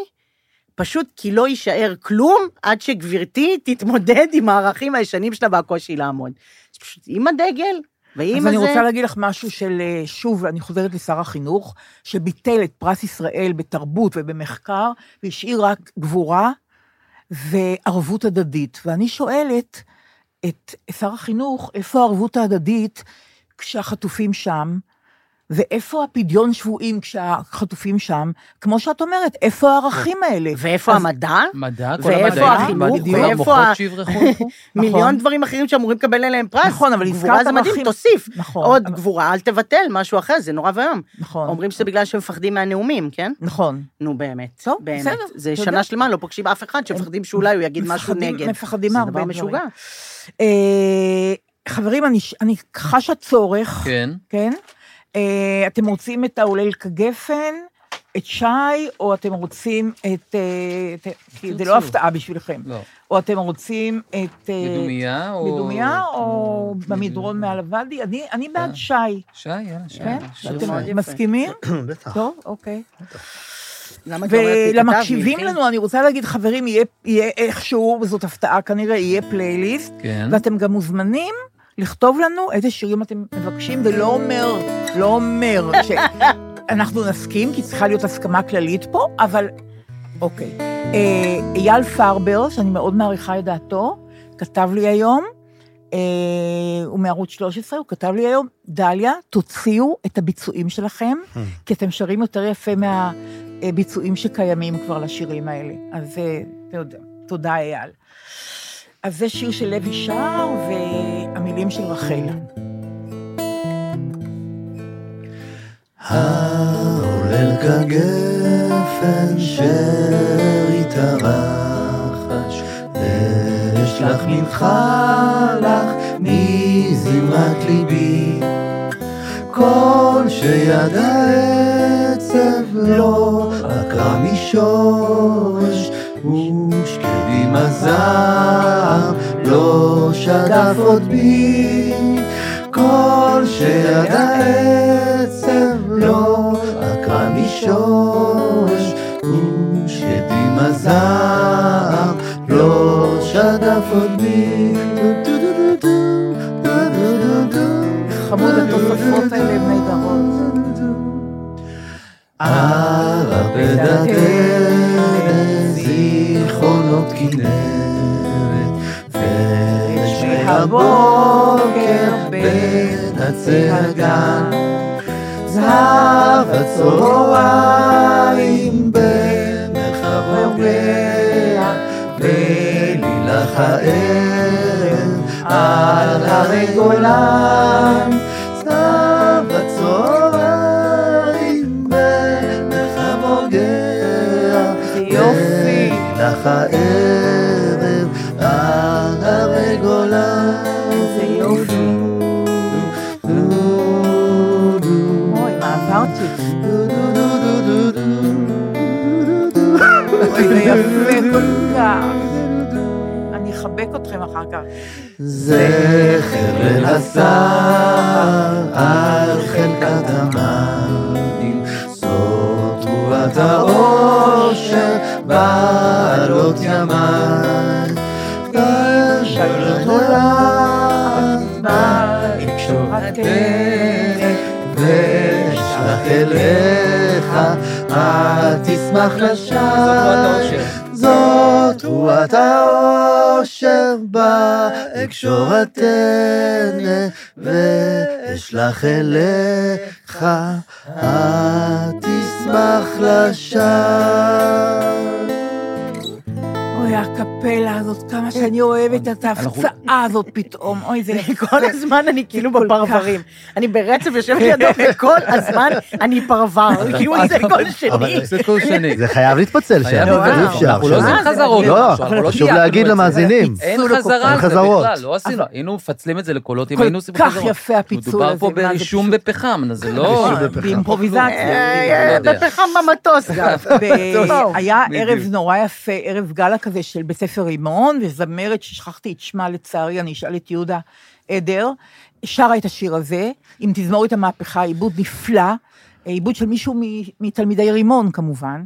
S6: פשוט כי לא יישאר כלום עד שגברתי תתמודד עם הערכים הישנים שלה והקושי לעמוד. אז פשוט עם הדגל, ועם
S3: אז
S6: הזה...
S3: אני רוצה להגיד לך משהו של, אה, שוב, אני חוזרת לשר החינוך, שביטל את פרס ישראל בתרבות ובמחקר, והשאיר רק גבורה וערבות הדדית. ואני שואלת את שר החינוך, איפה הערבות ההדדית כשהחטופים שם? ואיפה הפדיון שבויים כשהחטופים שם? כמו שאת אומרת, איפה הערכים האלה?
S6: ואיפה
S3: אז-
S6: המדע?
S4: מדע, כל
S6: ואיפה
S4: המדעים,
S6: החינוך?
S4: והדיוק,
S6: ואיפה
S4: והמוחות
S6: ה-
S4: שיברחו.
S6: מיליון דברים אחרים שאמורים לקבל עליהם פרס.
S3: נכון, אבל
S6: גבורה
S3: הזכרת
S6: זה מדהים,
S3: ערכים.
S6: תוסיף.
S3: נכון.
S6: עוד
S3: אבל-
S6: גבורה, אל תבטל משהו אחר, זה נורא ואיום.
S3: נכון.
S6: אומרים שזה בגלל שהם מפחדים מהנאומים, כן?
S3: נכון.
S6: נו באמת,
S3: טוב,
S6: באמת.
S3: בסדר,
S6: זה
S3: אתה
S6: שנה
S3: יודע.
S6: שלמה, לא פוגשים אף אחד שמפחדים שאולי הוא יגיד משהו
S3: מפחדים-
S6: נגד.
S3: מפחדים
S6: זה
S3: מהרבה
S6: דבר
S3: דברים.
S6: משוגע.
S3: אה, חברים, אני, אני חשה צורך, כן?
S4: כן.
S3: כן? אה, אתם רוצים את ההולל כגפן, את שי, או אתם רוצים את... אה, את כי זה
S4: תרצו.
S3: לא הפתעה בשבילכם.
S4: לא.
S3: או אתם רוצים את... אה,
S4: מדומייה או...
S3: בדומייה או
S4: כמו-
S3: במדרון מעל הוואדי? אני, אני בעד
S4: כן.
S3: שי,
S4: שי, יאללה, שי.
S3: כן?
S4: שיר
S3: אתם
S6: מאוד יפה.
S3: מסכימים?
S5: בטח.
S3: טוב, אוקיי.
S6: למה את לא אומרת לי כתב,
S3: ולמקשיבים
S6: מיכי?
S3: לנו, אני רוצה להגיד, חברים, יהיה, יהיה איכשהו, זאת הפתעה כנראה, יהיה פלייליסט,
S4: כן.
S3: ואתם גם מוזמנים לכתוב לנו איזה שירים אתם מבקשים, ולא אומר, לא אומר שאנחנו נסכים, כי צריכה להיות הסכמה כללית פה, אבל אוקיי. אה, אייל פרבר, שאני מאוד מעריכה את דעתו, כתב לי היום, אה, הוא מערוץ 13, הוא כתב לי היום, דליה, תוציאו את הביצועים שלכם, כי אתם שרים יותר יפה מהביצועים שקיימים כבר לשירים האלה. אז אה, אתה יודע, תודה, אייל. אז זה שיר של לוי שר והמילים של רחל.
S5: העולל כגפן שהתארחש, ואשלח ממך לך מזימת ליבי, כל שיד העצב לא עקרה משורש, ושקדי הזעם לא שדף עוד בי, כל שיד העצב לא עקרה משורש, ושקדי הזעם לא שדף עוד בי.
S3: חמוד, התוספות האלה הן נהדרות.
S5: ערפד הדלת, זיכרונות כנרת,
S3: בבוקר
S5: בית
S3: בצי הגן.
S5: הגן, זהב הצהריים במחרוגיה, ולילך הערב על הרי גולן. זהב הצהריים במחרוגיה,
S3: יופי.
S5: ולילך הערב על הרי גולן.
S3: איזה יופי. אוי, מה עברתי? אוי, זה יפה כל כך. אני אחבק אתכם אחר כך.
S5: זכר לנסר על חלקת המים, זאת תרועת האושר בעלות ימיים. כאשר נולד מים שורתך, ואשלח אליך, את תשמח לשם. זאת תרועת האושר בה אקשור הטנא ואשלח אליך את תשמח לשם.
S3: אוי, הקפלה הזאת,
S4: אה,
S3: כמה שאני אוהבת את ההפצעה הזאת פתאום. אוי, זה...
S6: כל הזמן אני כאילו בפרברים. אני ברצף יושבת לידו, וכל הזמן אני פרבר. כאילו זה כל שני.
S4: אה, זה קול שני.
S5: זה חייב להתפצל שם,
S4: היה
S5: אי
S4: וואו,
S5: אפשר.
S4: אנחנו לא
S5: שם.
S4: עושים חזרות.
S5: לא,
S4: אנחנו לא
S5: חשוב
S4: תיעדנו
S5: להגיד
S4: את זה.
S5: למאזינים.
S4: אין
S3: פיצול
S4: חזרה
S5: אין
S4: על זה
S5: חזרות.
S4: בכלל, לא עשינו, היינו מפצלים את זה לקולות אם
S3: כל
S4: היינו עושים
S3: כך
S4: חזרות.
S3: יפה הפיצול הזה,
S4: מדובר פה
S3: מה זה
S4: ברישום בפחם, זה לא...
S5: רישום בפחם.
S3: באימפרוביזציה.
S4: לא יודע.
S6: אה, בפחם במטוס גם.
S3: ב- היה
S4: בדיוק.
S3: ערב נורא יפה, ערב גאלה כזה של בית ספר רימון, וזמרת ששכחתי את שמה לצערי, אני אשאל את יהודה עדר, שרה את השיר הזה, עם תזמורת המהפכה, עיבוד נפלא, אה, עיבוד של מישהו מ- מתלמידי רימון כמובן.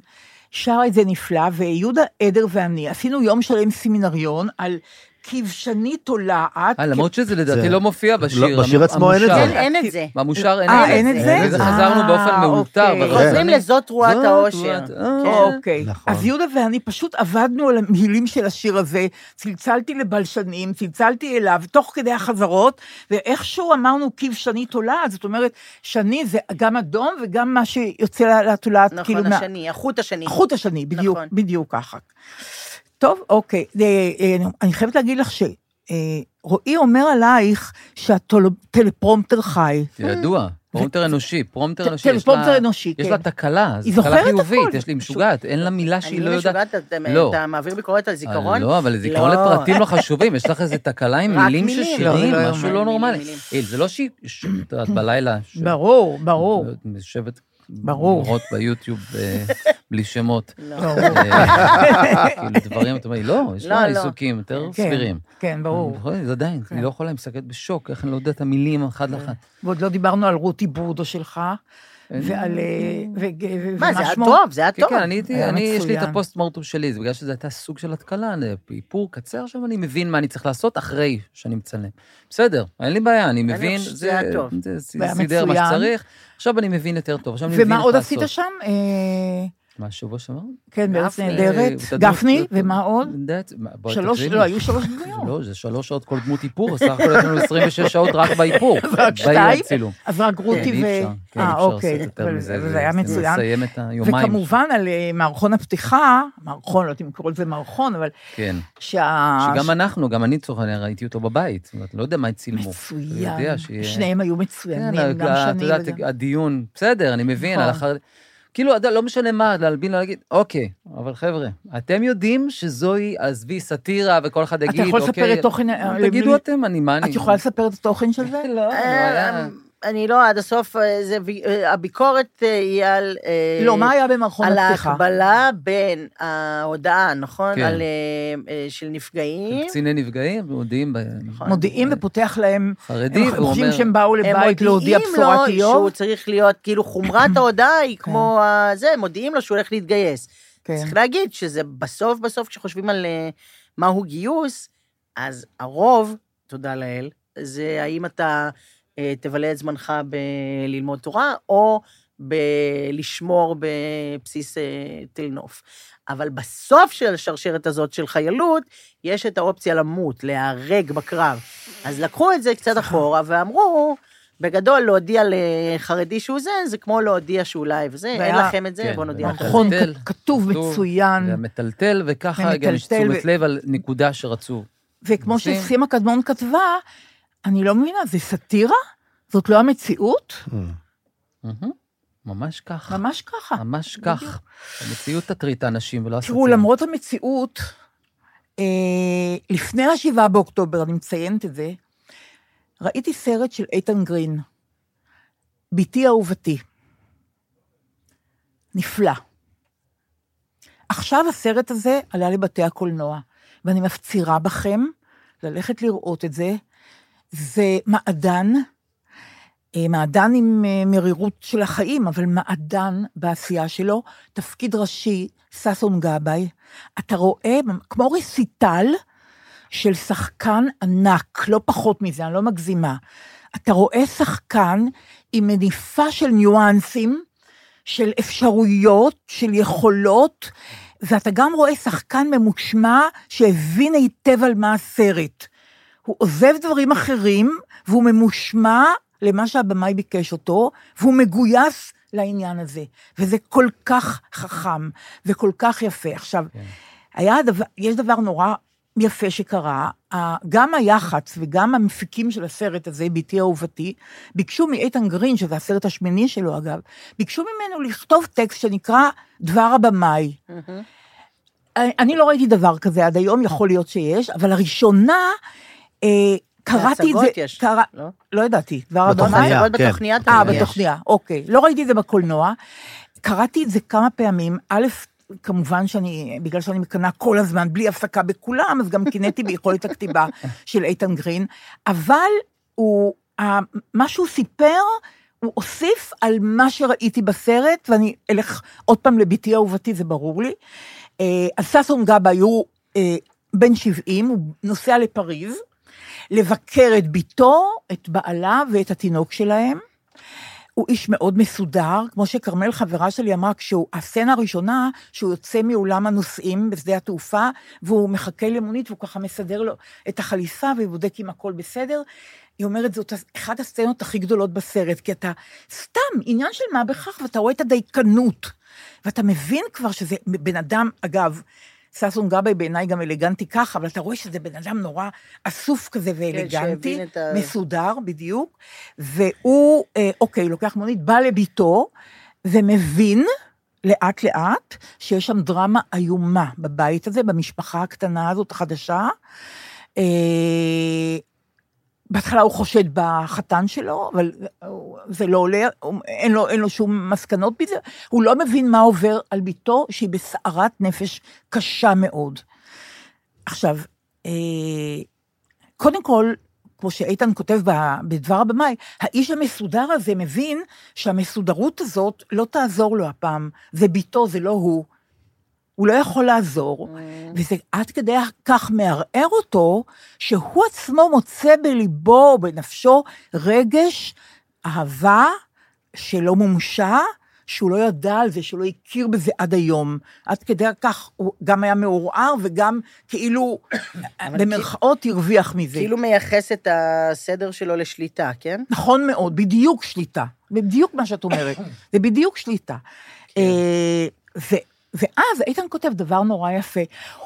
S3: שרה את זה נפלא, ויהודה עדר ואני עשינו יום שלם סמינריון על כבשנית תולעת.
S4: אה, למרות שזה לדעתי
S5: זה-
S4: לא מופיע בשיר.
S5: לא, בשיר
S4: המ-
S5: עצמו אין את זה.
S4: המושר.
S6: אין אין את זה.
S4: במושר אין
S3: אה, אין את זה?
S5: אין את זה.
S4: חזרנו באופן
S3: אה,
S4: מאולתר.
S3: אוקיי.
S4: ברור. לא,
S6: חוזרים לזאת תרועת
S4: זאת
S6: האושר.
S4: תרועת- אה,
S6: כן.
S3: אוקיי.
S5: נכון.
S3: אז יהודה ואני פשוט עבדנו על המילים של השיר הזה, צלצלתי לבלשנים, צלצלתי אליו, תוך כדי החזרות, ואיכשהו אמרנו כבשני תולעת, זאת אומרת, שני זה גם אדום וגם מה שיוצא לתולעת, כאילו,
S6: נכון,
S3: מה-
S6: השני, החוט השני.
S3: החוט השני, בדיוק,
S6: נכון.
S3: בדיוק ככה. טוב, אוקיי. אה, אה, אני חייבת להגיד לך ש... אה, רועי אומר עלייך שהטלפרומטר חי.
S4: ידוע. פרומטר אנושי, פרומטר אנושי. יש
S3: טלפרומטר
S4: לה-
S3: אנושי, כן.
S4: כן. יש לה תקלה,
S3: היא
S4: זו
S3: זוכרת
S4: תקלה
S3: הכל.
S4: חיובית, יש לי משוגעת, אין לה מילה
S6: אני
S4: שהיא לא יודעת.
S6: משוגעת, אתה-
S4: לא.
S6: אתה מעביר ביקורת על זיכרון?
S4: לא, אבל זיכרון
S6: לא.
S4: לפרטים לא חשובים, יש לך איזה תקלה עם
S6: רק
S4: מילים של
S6: מילים.
S4: שירים,
S6: לא, לא,
S4: משהו
S6: לא,
S4: לא
S6: מילים,
S4: נורמלי.
S6: מילים. לא,
S4: אה, זה לא שהיא, ש- את יודעת, בלילה... ש-
S3: ברור, ברור.
S4: יושבת...
S3: ברור.
S4: לראות ביוטיוב אה, בלי שמות.
S6: לא.
S3: ברור.
S4: אה, כאילו דברים, אתה אומר, לא, יש
S6: לא,
S4: לה
S6: לא.
S4: עיסוקים יותר
S3: כן,
S4: סבירים.
S3: כן, ברור.
S4: אני יכול- זה עדיין,
S6: כן.
S4: אני לא יכולה, אני מסתכלת בשוק, איך אני לא יודע את המילים אחת לאחת.
S3: ועוד לא דיברנו על רותי בורדו שלך, ועל... אה, ו- ו-
S6: מה, זה היה
S3: שמו?
S6: טוב, זה היה
S4: כן,
S6: טוב.
S4: כן, אני הייתי,
S3: היה
S4: אני, יש לי את
S3: מצוין.
S4: הפוסט מורטום שלי, זה בגלל שזה הייתה סוג של התקלה, אני- איפור קצר, עכשיו אני מבין מה אני צריך לעשות אחרי שאני מצלם. בסדר, אין לי בעיה, אני מבין,
S6: חושבת שזה
S4: זה
S6: היה טוב.
S4: זה- זה
S3: והיה
S4: סידר מה
S3: מצוין.
S4: שצריך, עכשיו אני מבין יותר טוב, עכשיו אני מבין
S3: ומה
S4: איך
S3: עוד
S4: לעשות.
S3: עשית שם? אה,
S4: מה, שבוע שעבר?
S3: כן, בארץ
S6: גפני.
S3: נהדרת.
S4: אה,
S3: גפני,
S4: תדמות-
S3: ומה עוד?
S4: יודעת, מה, בואי
S3: שלוש,
S4: תקריאי
S3: לא,
S4: לי.
S3: היו שלוש
S4: זה
S3: דמויות.
S4: לא, זה שלוש שעות כל דמות איפור, בסך הכל יש לנו 26 שעות רק באיפור. רק
S3: שתיים? אז רק רותי
S4: כן,
S3: ו...
S4: אי אפשר, כן, אי
S3: אה,
S4: אפשר לעשות
S3: אוקיי.
S4: יותר
S3: אבל-
S4: מזה.
S3: אבל זה היה מצוין.
S4: זה מסיים את היומיים.
S3: וכמובן על אה, מערכון הפתיחה, מערכון, לא יודעת אם קוראים לזה מערכון, אבל
S4: כן.
S3: שה...
S4: שגם אנחנו, גם אני לצורך העניין ראיתי אותו בבית, זאת אומרת, לא יודע מה צילמו. אתה יודע
S3: מצוין.
S4: שיהיה-
S3: שניהם היו
S4: כן,
S3: מצוינים,
S4: ה-
S3: גם
S4: ה-
S3: שני
S4: את
S3: וגם...
S4: יודעת, הדיון, בסדר, אני מבין,
S3: נכון.
S4: על החר... כאילו, אתה- לא משנה מה, להלבין, להגיד, אוקיי, אבל חבר'ה, אתם יודעים שזוהי, עזבי, סאטירה, וכל אחד יגיד,
S3: אתה
S4: אוקיי...
S3: יכול לספר את תוכן... אה,
S4: תגידו אתם, אני, מה אני...
S3: את יכולה לספר את התוכן של זה?
S4: לא,
S6: אה,
S4: היה-
S6: אני לא, עד הסוף, אה, זה וי- אה, הביקורת אה, היא על... אה,
S3: לא, מה היה במערכון
S6: על
S3: הפתיחה?
S6: ההקבלה בין ההודעה, נכון?
S4: כן.
S6: על, אה, אה, של נפגעים.
S4: קציני נפגעים, מודיעים, ב-
S6: נכון.
S3: מודיעים ופותח להם...
S4: חרדי,
S3: הם
S4: והוא
S3: חושבים
S4: אומר,
S3: שהם באו לבית
S6: הם
S3: להודיע
S6: מודיעים
S3: בשורת
S6: לו שהוא
S3: איוב.
S6: צריך להיות, כאילו חומרת ההודעה היא כמו ה- זה, הם מודיעים לו שהוא הולך להתגייס.
S3: כן.
S6: צריך להגיד שזה בסוף בסוף, כשחושבים על אה, מהו גיוס, אז הרוב, תודה לאל, זה האם אתה אה, תבלה את זמנך בללמוד תורה, או בלשמור בבסיס אה, תל נוף. אבל בסוף של השרשרת הזאת של חיילות, יש את האופציה למות, להיהרג בקרב. אז לקחו את זה קצת אחורה ואמרו, בגדול, להודיע לחרדי שהוא זה, זה כמו להודיע שאולי וזה, אין
S3: והיה-
S6: לכם את זה,
S4: כן,
S6: בואו נודיע לכם.
S3: נכון,
S4: מטלטל.
S3: כ- כתוב
S4: כתוב.
S3: מצוין.
S4: והמטלטל, וככה גם יש
S3: ומטלטל
S4: תשומת
S3: ו-
S4: לב על נקודה שרצו.
S3: וכמו
S4: עושים.
S3: שסימה קדמון כתבה, אני לא מבינה, זה סאטירה? זאת לא המציאות?
S4: מהמם. ממש כך.
S3: ממש ככה.
S4: ממש כך. המציאות תטריד את האנשים ולא הסרטים.
S3: תראו, למרות המציאות, אה, לפני השבעה באוקטובר, אני מציינת את זה, ראיתי סרט של איתן גרין, בתי אהובתי. נפלא. עכשיו הסרט הזה עלה לבתי הקולנוע, ואני מפצירה בכם ללכת לראות את זה. זה מעדן, אה, מעדן עם אה, מרירות של החיים, אבל מעדן בעשייה שלו, תפקיד ראשי, ששון גבאי. אתה רואה כמו רסיטל של שחקן ענק, לא פחות מזה, אני לא מגזימה. אתה רואה שחקן עם מניפה של ניואנסים, של אפשרויות, של יכולות, ואתה גם רואה שחקן ממושמע שהבין היטב על מה הסרט. הוא עוזב דברים אחרים, והוא ממושמע למה שהבמאי ביקש אותו, והוא מגויס לעניין הזה. וזה כל כך חכם, וכל כך יפה. עכשיו, היה דבר, יש דבר נורא יפה שקרה, ה- גם היח"צ וגם המפיקים של הסרט הזה, ביתי אהובתי, ביקשו מאיתן גרין, שזה הסרט השמיני שלו אגב, ביקשו ממנו לכתוב טקסט שנקרא דבר הבמאי. אני אני לא ראיתי דבר כזה עד
S6: אה.
S3: היום, יכול להיות שיש, אבל לראשונה אה, קראתי את זה...
S6: בהצגות יש,
S3: קרא-
S6: לא?
S3: לא ידעתי, דבר הבמאי.
S5: בתוכניה,
S6: עוד
S5: כן.
S6: בתוכניה אתה
S3: אה,
S6: מגיש.
S3: בתוכניה, אוקיי. לא ראיתי את זה בקולנוע. קראתי את זה כמה פעמים. א', כמובן שאני, בגלל שאני מקנאה כל הזמן, בלי הפסקה בכולם, אז גם קינאתי ביכולת הכתיבה של איתן גרין, אבל הוא, ה- מה שהוא סיפר, הוא הוסיף על מה שראיתי בסרט, ואני אלך עוד פעם לביתי אהובתי, זה ברור לי. אה, אז ששון גבאי הוא אה, בן 70, הוא נוסע לפריז, לבקר את ביתו, את בעלה ואת התינוק שלהם. הוא איש מאוד מסודר, כמו שכרמל חברה שלי אמרה, כשהוא, הסצנה הראשונה, שהוא יוצא מאולם הנוסעים בשדה התעופה, והוא מחכה למונית, והוא ככה מסדר לו את החליפה, ובודק אם הכל בסדר. היא אומרת, זאת אחת הסצנות הכי גדולות בסרט, כי אתה סתם, עניין של מה בכך, ואתה רואה את הדייקנות. ואתה מבין כבר שזה בן אדם, אגב, ששון גבאי בעיניי גם אלגנטי ככה, אבל אתה רואה שזה בן אדם נורא אסוף כזה ואלגנטי,
S6: כן, שהבין את ה-
S3: מסודר בדיוק, והוא, אה, אוקיי, לוקח מונית, בא לביתו ומבין לאט לאט שיש שם דרמה איומה בבית הזה, במשפחה הקטנה הזאת, החדשה. אה, בהתחלה הוא חושד בחתן שלו, אבל הוא- זה לא עולה, הוא- אין לו, אין לו שום מסקנות מזה, הוא לא מבין מה עובר על ביתו, שהיא בסערת נפש קשה מאוד. עכשיו, אה, קודם כל, כמו שאיתן כותב ב- בדבר הבמאי, האיש המסודר הזה מבין שהמסודרות הזאת לא תעזור לו הפעם. זה ביתו, זה לא הוא. הוא לא יכול לעזור, וזה עד כדי כך מערער אותו, שהוא עצמו מוצא בליבו, בנפשו, רגש, אהבה שלא מומשה, שהוא לא ידע על זה, שהוא לא הכיר בזה עד היום. עד כדי כך הוא גם היה מעורער וגם כאילו, במרכאות, הרוויח מזה.
S6: כאילו מייחס את הסדר שלו לשליטה, כן?
S3: נכון מאוד, בדיוק שליטה. בדיוק מה שאת אומרת, זה בדיוק שליטה. אה, ו- ואז איתן כותב דבר נורא יפה.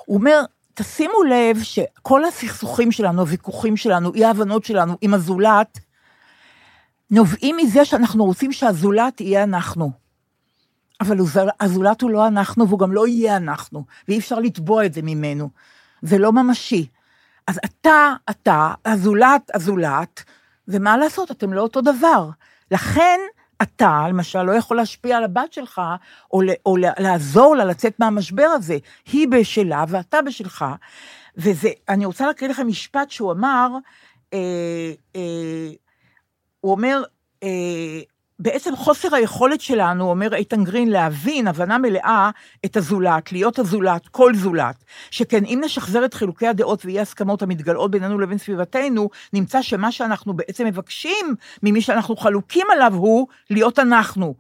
S3: הוא אומר, תשימו לב שכל הסכסוכים שלנו, הוויכוחים שלנו, אי ההבנות שלנו עם הזולת, נובעים מזה שאנחנו רוצים שהזולת יהיה אנחנו. אבל הזול- הזולת הוא לא אנחנו, והוא גם לא יהיה אנחנו, ואי אפשר לתבוע את זה ממנו. זה לא ממשי. אז אתה, אתה, הזולת, הזולת, ומה לעשות, אתם לא אותו דבר. לכן, אתה, למשל, לא יכול להשפיע על הבת שלך, או, ל- או ל- לעזור לה לצאת מהמשבר הזה. היא בשלה ואתה בשלך. וזה, אני רוצה להקריא לכם משפט שהוא אמר, אה, אה, הוא אומר, אה, בעצם חוסר היכולת שלנו, אומר איתן גרין, להבין הבנה מלאה את הזולת, להיות הזולת, כל זולת. שכן אם נשחזר את חילוקי הדעות ואי הסכמות המתגלעות בינינו לבין סביבתנו, נמצא שמה שאנחנו בעצם מבקשים ממי שאנחנו חלוקים עליו הוא להיות אנחנו.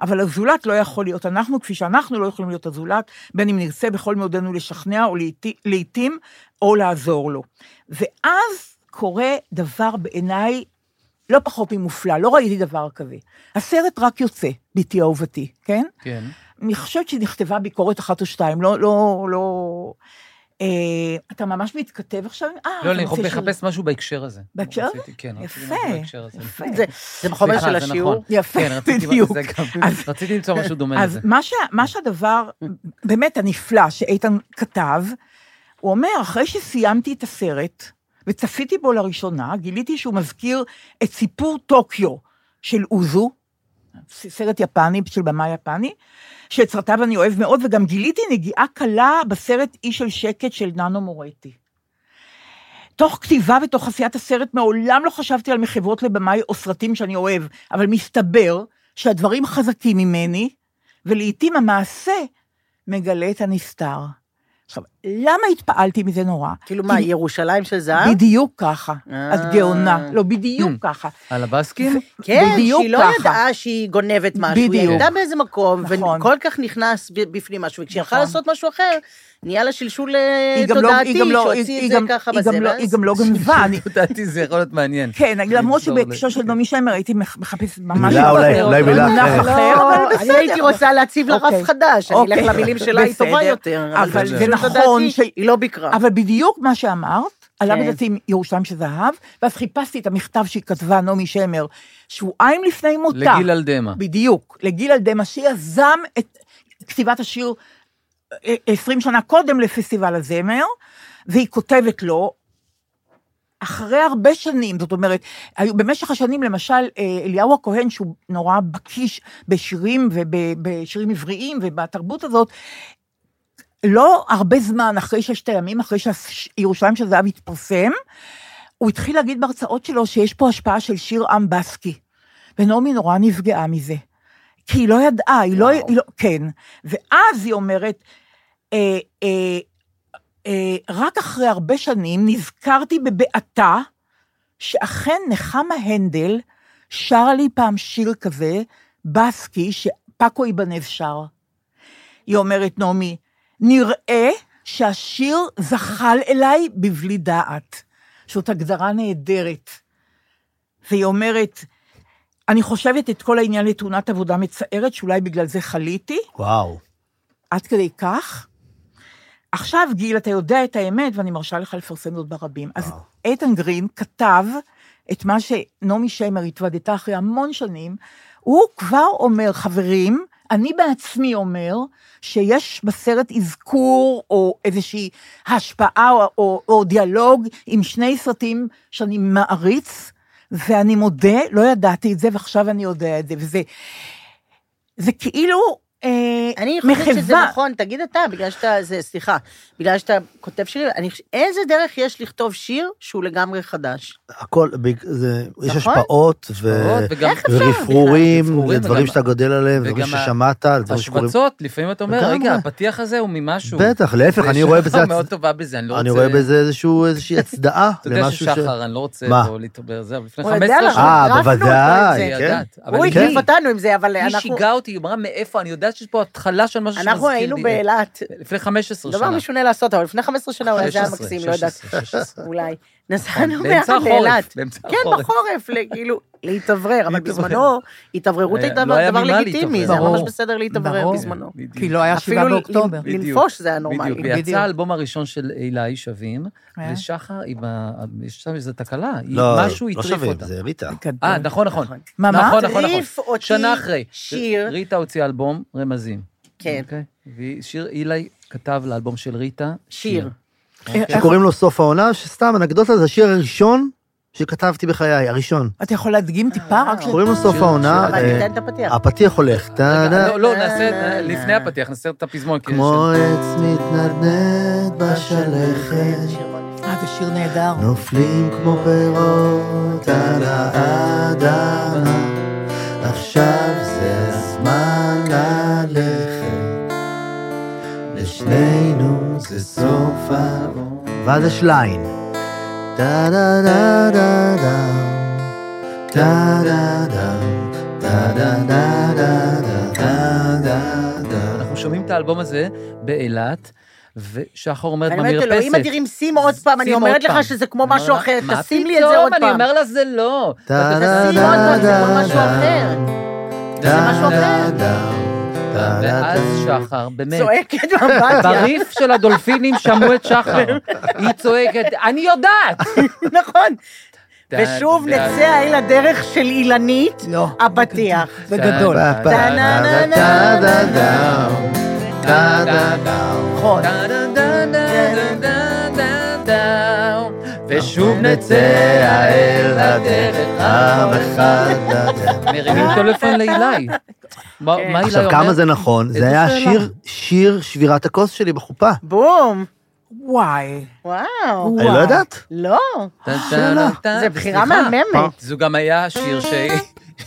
S3: אבל הזולת לא יכול להיות אנחנו, כפי שאנחנו לא יכולים להיות הזולת, בין אם נרצה בכל מאודנו לשכנע או לעתי- לעתים, או לעזור לו. ואז קורה דבר בעיניי לא פחות ממופלא, לא ראיתי דבר כזה. הסרט רק יוצא, ביתי אהובתי, כן?
S4: כן.
S3: אני חושבת שנכתבה ביקורת אחת או שתיים, לא, לא, לא... אה, אתה ממש מתכתב עכשיו? אה, אתה
S4: לא, אני
S3: רוצה ש-
S4: מחפש משהו בהקשר הזה.
S3: בהקשר?
S4: רציתי- כן, רציתי
S3: יפה,
S4: משהו בהקשר הזה.
S3: יפה.
S6: זה- זה בחומר
S4: סליחה,
S6: של
S4: זה
S6: השיעור.
S4: נכון.
S3: יפה,
S4: כן, רציתי-
S3: בדיוק.
S4: זה גם-
S3: אז-
S4: רציתי למצוא משהו דומה
S3: אז
S4: לזה. כן.
S3: מה, שה, מה שהדבר באמת הנפלא שאיתן כתב, הוא אומר, אחרי שסיימתי את הסרט וצפיתי בו לראשונה, גיליתי שהוא מזכיר את סיפור טוקיו של אוזו, ס- סרט יפני, של במאי יפני, שאת סרטיו אני אוהב מאוד, וגם גיליתי נגיעה קלה בסרט אי של שקט של ננו מורטי. תוך כתיבה ותוך עשיית הסרט מעולם לא חשבתי על מחוות לבמאי או סרטים שאני אוהב, אבל מסתבר שהדברים חזקים ממני, ולעיתים המעשה מגלה את הנסתר. עכשיו, למה התפעלתי מזה נורא?
S6: כאילו מה,
S3: כי-
S6: ירושלים של זהב?
S3: בדיוק ככה.
S6: אה. Hmm.
S3: את גאונה. לא, בדיוק ככה.
S4: על הבסקים?
S6: כן,
S3: בדיוק
S6: שהיא לא
S3: ככה.
S6: ידעה שהיא גונבת משהו, היא
S3: בדיוק.
S6: הייתה באיזה מקום,
S3: נכון.
S6: וכל כך נכנס ב- בפנים משהו, וכשהיא הלכה
S3: נכון.
S6: לעשות משהו אחר, נהיה לה שלשול אה,
S3: היא גם לא-
S6: תודעתי,
S3: היא גם לא-
S6: שהוציא
S3: היא
S6: את זה
S3: גם-
S6: ככה
S3: היא
S6: בזה,
S3: גם לא- היא
S6: ואז-
S3: גם לא גנבה. אני-
S4: לדעתי זה יכול להיות מעניין.
S3: כן, למרות
S4: למסור ל-
S3: שבהקשר של נעמי שמר הייתי מח- מחפשת ממש...
S5: מילה
S3: מונח
S5: אולי-
S3: אחר.
S5: אולי לא, מילה
S3: מונח
S5: אחרת.
S3: אחר, נכון, אבל
S6: לא, אני הייתי
S3: בסדר.
S6: רוצה להציב לה רף
S3: אוקיי.
S6: חדש, אני
S3: אוקיי.
S6: אלך למילים שלה, היא טובה
S3: בסדר.
S6: יותר.
S3: אבל
S6: זה
S3: זה
S6: שלשול
S3: נכון
S6: תודעתי,
S3: ש-
S6: היא לא ביקרה.
S3: אבל בדיוק מה שאמרת, עלה
S6: כן.
S3: בדעתי עם ירושלים של זהב, ואז חיפשתי את המכתב שהיא כתבה, נעמי שמר, שבועיים לפני מותה.
S4: לגיל אלדמה.
S3: בדיוק, לגיל אלדמה, שיזם את כתיבת השיר אה, 20 שנה קודם לפסטיבל הזמר, והיא כותבת לו, אחרי הרבה שנים, זאת אומרת, היו, במשך השנים, למשל, אה, אליהו הכהן, שהוא נורא בקיש בשירים ובשירים עבריים ובתרבות הזאת, לא הרבה זמן אחרי ששת הימים, אחרי שירושלים של זהב התפרסם, הוא התחיל להגיד בהרצאות שלו שיש פה השפעה של שיר עם בסקי. ונעמי נורא נפגעה מזה. כי היא לא ידעה, היא לא, היא לא... כן. ואז היא אומרת, אה, אה, אה, רק אחרי הרבה שנים נזכרתי בבעתה, שאכן נחמה הנדל שרה לי פעם שיר כזה, בסקי, שפאקו איבנב שר. היא אומרת, נעמי, נראה שהשיר זחל אליי בבלי דעת. זאת הגדרה נהדרת. והיא אומרת, אני חושבת את כל העניין לתאונת עבודה מצערת, שאולי בגלל זה חליתי,
S5: וואו.
S3: עד כדי כך. עכשיו, גיל, אתה יודע את האמת, ואני מרשה לך לפרסם זאת ברבים. אז
S5: וואו.
S3: איתן גרין כתב את מה שנעמי שמר התוודתה אחרי המון שנים, הוא כבר אומר, חברים, אני בעצמי אומר שיש בסרט אזכור או איזושהי השפעה או, או, או דיאלוג עם שני סרטים שאני מעריץ, ואני מודה, לא ידעתי את זה ועכשיו אני יודע את זה, וזה זה כאילו אה,
S6: אני
S3: מחווה.
S6: חושבת שזה נכון, תגיד אתה, בגלל שאתה, זה, סליחה, בגלל שאתה כותב שירים, אני, חוש- איזה דרך יש לכתוב שיר שהוא לגמרי חדש?
S5: הכל, בג- זה- יש
S6: נכון?
S5: השפעות, ו-
S4: השפעות, וגם-
S6: איך אפשר?
S5: ורפרורים,
S4: רפרורים,
S5: ודברים
S4: וגם-
S5: שאתה גדל עליהם, דברים
S4: וגם ה-
S5: ששמעת, דברים שקורים.
S4: השבצות, לפעמים אתה אומר,
S5: לגמרי.
S4: רגע, הפתיח הזה הוא ממשהו.
S5: בטח, להפך, אני
S4: ויש
S5: רואה
S4: לך
S5: בזה, הצ-
S4: מאוד טובה בזה, אני לא רוצה...
S5: אני רואה בזה איזשהו- איזושהי הצדעה
S4: אתה יודע
S5: למשהו ש...
S4: ששחר, אני לא רוצה
S5: מה?
S4: פה להתעבר זה, אבל לפני
S6: הוא יודע
S4: 15
S6: לך,
S4: שנה
S5: אה,
S6: רפנו אותו עם
S5: בוודאי,
S6: זה.
S5: כן.
S4: ידעת. אבל
S6: הוא
S4: היא-
S6: הגיב אותנו עם זה, אבל
S4: היא
S6: אנחנו,
S4: שיגעה אותי, היא אמרה מאיפה, אני יודעת שיש פה התחלה של משהו
S6: אנחנו היינו
S4: לי.
S6: באילת,
S4: לפני 15 שנה.
S6: דבר משונה לעשות, אבל לפני 15 שנה אולי זה היה
S4: 16,
S6: מקסים, לא יודעת,
S4: 16, 16.
S6: אולי. נסענו
S4: באמצע
S6: ביחד לאילת.
S4: החורף, באמצע
S6: כן,
S4: החורף.
S6: בחורף, ל- כאילו, להתאוורר, אבל
S4: להתאוורר.
S6: בזמנו, התאווררות
S4: לא
S6: הייתה
S4: היה- לא היה
S6: דבר
S4: ממה
S6: לגיטימי, זה היה
S4: להתאוורר.
S6: ממש
S3: ברור.
S6: בסדר להתאוורר
S3: ברור.
S6: בזמנו.
S4: בדיוק.
S3: כי לא היה שבעה
S6: אפילו
S3: באוקטובר.
S6: ל-
S4: בדיוק.
S6: לנפוש זה היה
S4: בדיוק,
S6: נורמלי.
S4: ויצא
S3: בדיוק.
S4: האלבום הראשון של אילי שווים,
S3: אה?
S4: ושחר, היא ב- יש שם איזו תקלה, היא-
S5: לא,
S4: משהו
S5: לא
S4: הטריף
S5: שווה,
S4: אותה.
S5: זה ריטה.
S4: אה, נכון, נכון.
S6: נכון.
S3: מה, מה?
S4: נכון, נכון, נכון.
S6: הטריף אותי
S4: שנה אחרי.
S6: שיר.
S4: ריטה הוציאה אלבום רמזים.
S6: כן.
S4: אוקיי? ושיר אילי כתב לאלבום של ריטה.
S6: שיר.
S4: כן.
S3: איך-
S5: שקוראים לו סוף העונה, שסתם אנקדוטה, זה השיר הראשון שכתבתי בחיי, הראשון.
S3: אתה יכול להדגים טיפה?
S4: כן.
S3: רק ש...
S5: קוראים לו סוף
S4: שיר-
S5: העונה,
S4: שיר-
S6: אבל
S5: אה,
S6: ניתן את הפתיח.
S5: הפתיח הולך, טה
S4: רגע,
S5: דה,
S4: לא,
S6: אה.
S4: לא, נעשה, לפני הפתיח, נעשה את הפזמון. כי
S5: כמו
S4: יש-
S5: עץ מתנדנד בשלכת,
S3: אה, זה שיר נהדר.
S5: נופלים כמו פירות על האדמה, עכשיו זה הזמן ללכת, לשנינו זה סוף העולם. ואז יש ליין. טה דה דה דה דה, טה דה דה, טה דה דה דה דה.
S4: שומעים את האלבום הזה באילת, ושחר אומרת
S6: אני אומרת,
S4: במרפסת.
S6: אלוהים אדירים, שים עוד פעם, אני
S4: שים עוד
S6: אומרת לך
S4: פעם.
S6: שזה כמו
S4: אני אומר
S6: משהו
S4: לה,
S6: אחר,
S4: "מה
S6: תשים לי את זה
S4: פתאום?"
S6: עוד
S4: אני
S6: פעם.
S4: אומר לה, זה לא.
S5: טה-
S4: ואתה
S5: דה-
S4: תשים
S6: תשים
S4: עוד
S6: עוד פעם, זה
S5: דה-
S6: כמו משהו
S5: דה-
S6: אחר. זה משהו אחר.
S4: ואז שחר, באמת.
S6: צועקת באמבטיה.
S4: בריף של הדולפינים שמעו את שחר. היא צועקת, אני יודעת!
S6: נכון. ושוב נצא אל הדרך של אילנית,
S3: לא.
S6: אבטיח.
S3: בגדול.
S5: טה- טה-
S6: נה- נה- נה-
S5: טה- דה- דה- טה- דה- דה-
S3: נכון.
S4: ושוב נצא האל הדרך
S5: דה- דה-
S4: מרימים טלפון לאילי. מה
S6: כן.
S4: מה אילי
S5: עכשיו, כמה
S4: אומר?
S5: זה נכון?
S4: איזה
S5: זה היה
S4: שאלה.
S5: שיר, שיר שבירת הכוס שלי בחופה.
S6: בום.
S3: וואי.
S6: וואו.
S5: אני לא יודעת.
S6: לא,
S4: טה- טה-
S5: שאלה.
S4: טה-
S6: זו בחירה
S4: אה, סליחה,
S6: מהממת.
S4: זו גם היה השיר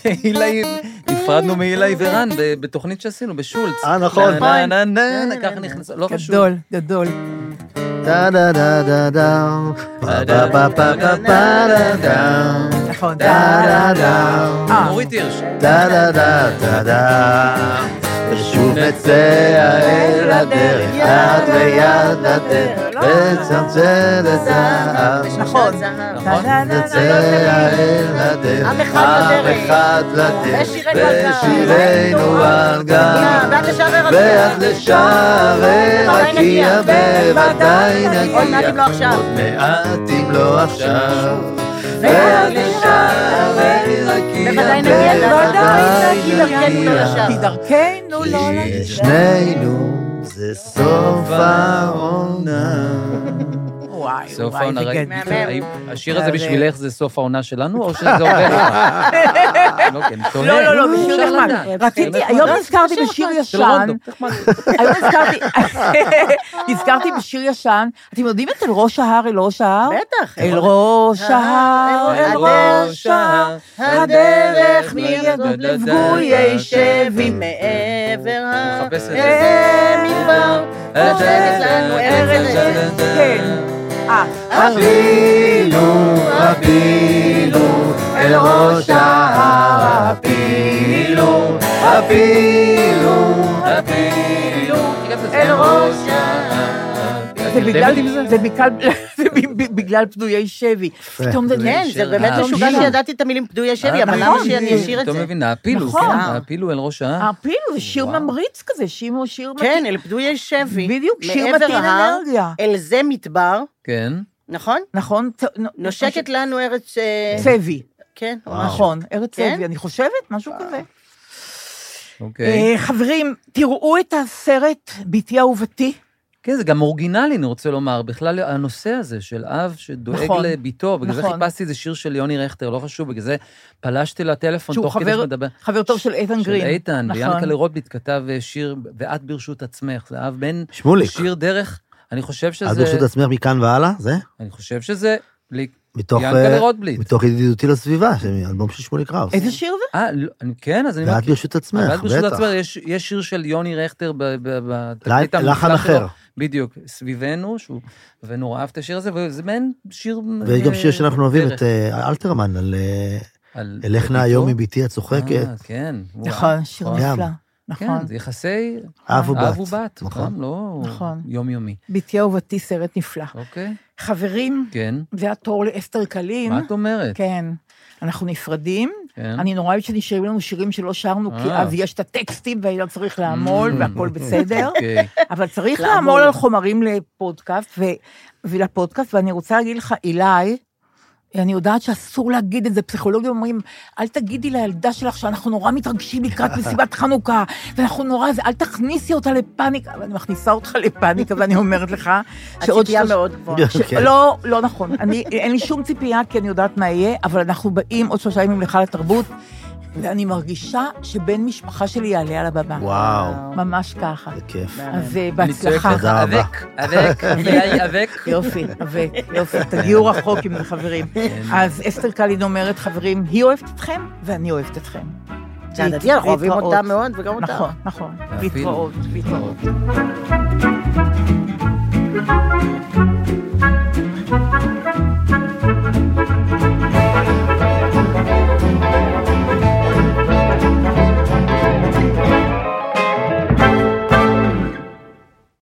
S4: שהילי, נפרדנו מהילי ורן ב- בתוכנית שעשינו בשולץ.
S5: אה, נכון.
S4: נה, נה, נה, נה, ככה נכנס, לא חשוב.
S3: כן. גדול, גדול.
S5: טה- דה- דה- דה- דה. פה- פה- פה- פה- פה- פה- דה- דה.
S3: נכון.
S5: טה- דה- דה.
S3: אה,
S4: אורית הירש.
S5: טה דה דה דה דה ושוב נצא אל הדרך, יד ביד לתת, וצמצם לזהב.
S6: נכון.
S4: נכון.
S5: נצא אל הדרך,
S6: עם אחד
S5: עם
S6: בדרך.
S5: אחד לתת,
S6: ושירנו על גב. אה,
S5: ושירנו על
S6: ואת לשעבר
S5: גב. ואז לשער
S6: בוודאי נגיע,
S5: נגיע, בוודאי
S6: בוודאי נגיע. עוד מעט אם לא
S5: נגיע,
S6: עכשיו.
S5: עוד מעט אם לא עכשיו. ואז לשער נגיע,
S6: בוודאי נגיע,
S3: בוודאי
S6: כי דרכנו לא לשער.
S3: כי דרכנו לא
S5: כי
S3: לשם.
S5: אה, שנינו זה סוף העונה.
S3: וואי,
S4: סוף
S3: וואי,
S4: העונה,
S3: זה
S4: ראית?
S3: גדול.
S4: האם השיר הזה
S3: זה-
S4: בשבילך זה סוף העונה שלנו, או שזה עובר לך? לא, כן, תולה.
S3: לא, לא, לא, בשיר
S4: אפשר
S3: נחמד.
S4: לדעת. כן,
S3: רציתי,
S4: נחמד.
S3: היום נזכרתי בשיר
S4: של
S3: ישן.
S4: רונדו, נחמד.
S3: היום נזכרתי, נזכרתי בשיר ישן. אתם יודעים את אל ראש ההר, אל ראש ההר?
S6: בטח.
S3: אל ראש
S4: אה,
S3: ההר, אל ראש ההר.
S6: הדרך
S4: לא
S6: מירדות
S4: דה, דה,
S6: לפגויי
S4: דה,
S6: שבי מעבר ה...
S4: לא מחפש אה, את זה.
S6: אה, מדבר,
S4: דה,
S6: נושבת לנו
S4: דה,
S6: ארץ
S4: דה,
S6: ארץ.
S4: דה, דה.
S3: כן. אה,
S5: אבינו, אבינו, אל ראש ההר, אבינו, אבינו.
S4: אל ראש
S6: אה,
S3: זה בגלל- זה בגלל- זה בגלל פדויי שבי. פתאום זה...
S6: כן, זה
S4: שיר.
S6: באמת
S4: אה,
S6: משוגע
S4: שיר.
S6: שידעתי את המילים פדויי שבי, אבל למה
S3: נכון,
S6: שאני
S3: זה-
S6: אשאיר את
S4: אתה
S6: זה?
S4: מבין, הפילו,
S3: נכון.
S4: כן, הפילו אל ראש ההר.
S3: הפילו, זה שיר ממריץ כזה, שיר שיר
S6: כן,
S3: מתאים.
S6: אל פדויי שבי.
S3: בדיוק, שיר
S6: מעבר
S3: מתאים
S6: ההר,
S3: אנרגיה.
S6: אל זה מדבר,
S4: כן.
S6: נכון?
S3: נכון? צ-
S6: נושקת לנו ארץ... אה,
S3: צבי.
S6: כן, או משהו.
S3: נכון, ארץ
S6: כן?
S3: צבי, אני חושבת, משהו כזה.
S4: אוקיי.
S3: אה, חברים, תראו את הסרט "בתי אהובתי".
S4: כן, זה גם אורגינלי, אני רוצה לומר. בכלל, הנושא הזה של אב שדואג
S3: נכון.
S4: לביתו, בגלל זה
S3: נכון.
S4: חיפשתי איזה שיר של יוני רכטר, לא חשוב, בגלל זה פלשתי לטלפון
S3: שהוא
S4: תוך כדי
S3: חבר-
S4: שמדבר.
S3: חבר טוב של איתן
S4: של
S3: גרין.
S4: איתן,
S3: נכון.
S4: ויאנקלה רוטביט כתב אה, שיר, ואת ברשות עצמך, זה אב בן
S5: שמוליק,
S4: שיר דרך, אני חושב שזה...
S5: את ברשות עצמך מכאן והלאה, זה?
S4: אני חושב שזה... בלי-
S5: מתוך...
S4: יענקלה
S5: אה,
S4: רוטבליט.
S5: מתוך ידידותי לסביבה, של אלבום של שמולי קראוס.
S3: איזה שיר זה?
S4: אה, לא, אני- כן, אז אני אומר...
S5: ואת ברשות עצמך,
S4: אבל ברשות
S5: בטח.
S4: עצמך, יש- יש שיר של יוני רכטר ב- ב- בתקליט
S5: ל-
S4: המופלא
S5: לחן אחר.
S4: אה, בדיוק, סביבנו, שהוא... ונורא אהב את השיר הזה, וזה מעין שיר...
S5: ויש גם
S4: אה,
S5: שיר שאנחנו אוהבים,
S4: דרך.
S5: את אה, אלתרמן, על אה,
S4: על-
S5: אלך נא
S4: בביתו.
S5: היום מביתי הצוחקת,
S4: אה, כן. וואו,
S3: נכון, שיר
S5: גם.
S3: נפלא.
S4: כן,
S3: נכון.
S4: זה יחסי
S5: אב ובת.
S4: אב ובת,
S5: נכון.
S4: נכון? לא
S3: נכון.
S4: יומיומי,
S3: "בתי אהובתי" סרט נפלא.
S4: אוקיי?
S3: חברים,
S4: כן.
S3: זה התור לאסתר קלין.
S4: מה את אומרת?
S3: כן. אנחנו נפרדים.
S4: כן.
S3: אני נורא אוהבת שנשארים לנו שירים שלא שרנו, כי
S4: אה.
S3: אז יש את הטקסטים ולא צריך לעמול
S4: Mm.
S3: והכול בסדר.
S4: אוקיי.
S3: אבל צריך
S6: לעמול.
S3: לעמול על חומרים לפודקאסט, ו... ולפודקאסט, ואני רוצה להגיד לך, אילי, אני יודעת שאסור להגיד את זה, פסיכולוגים אומרים, אל תגידי לילדה שלך שאנחנו נורא מתרגשים לקראת מסיבת חנוכה, ואנחנו נורא, זה, אל תכניסי אותה לפאניקה, ואני מכניסה אותך לפאניקה, ואני אומרת לך,
S6: הציפייה
S3: שלוש-
S6: מאוד גבוהה.
S3: ש...
S5: כן.
S3: לא, לא נכון. אני, אין לי שום ציפייה, כי אני יודעת מה יהיה, אבל אנחנו באים עוד שלושה ימים לך לתרבות, ואני מרגישה שבן משפחה שלי יעלה על הבמה.
S5: וואו,
S4: אה,
S3: ממש ככה.
S5: זה כיף.
S3: אז אה, בהצלחה.
S4: אני צועק לך,
S5: תודה רבה.
S4: אבק, אבק, אולי אבק.
S3: יופי, אבק, יופי, תגיעו רחוק עם חברים.
S4: כן.
S3: אז אסתר קלין אומרת, חברים, היא אוהבת אתכם, ואני אוהבת אתכם.
S6: זה הדדי, אנחנו אוהבים
S3: להתראות.
S6: אותה מאוד וגם אותה.
S3: נכון, נכון.
S4: אפילו.
S3: להתראות, להתראות.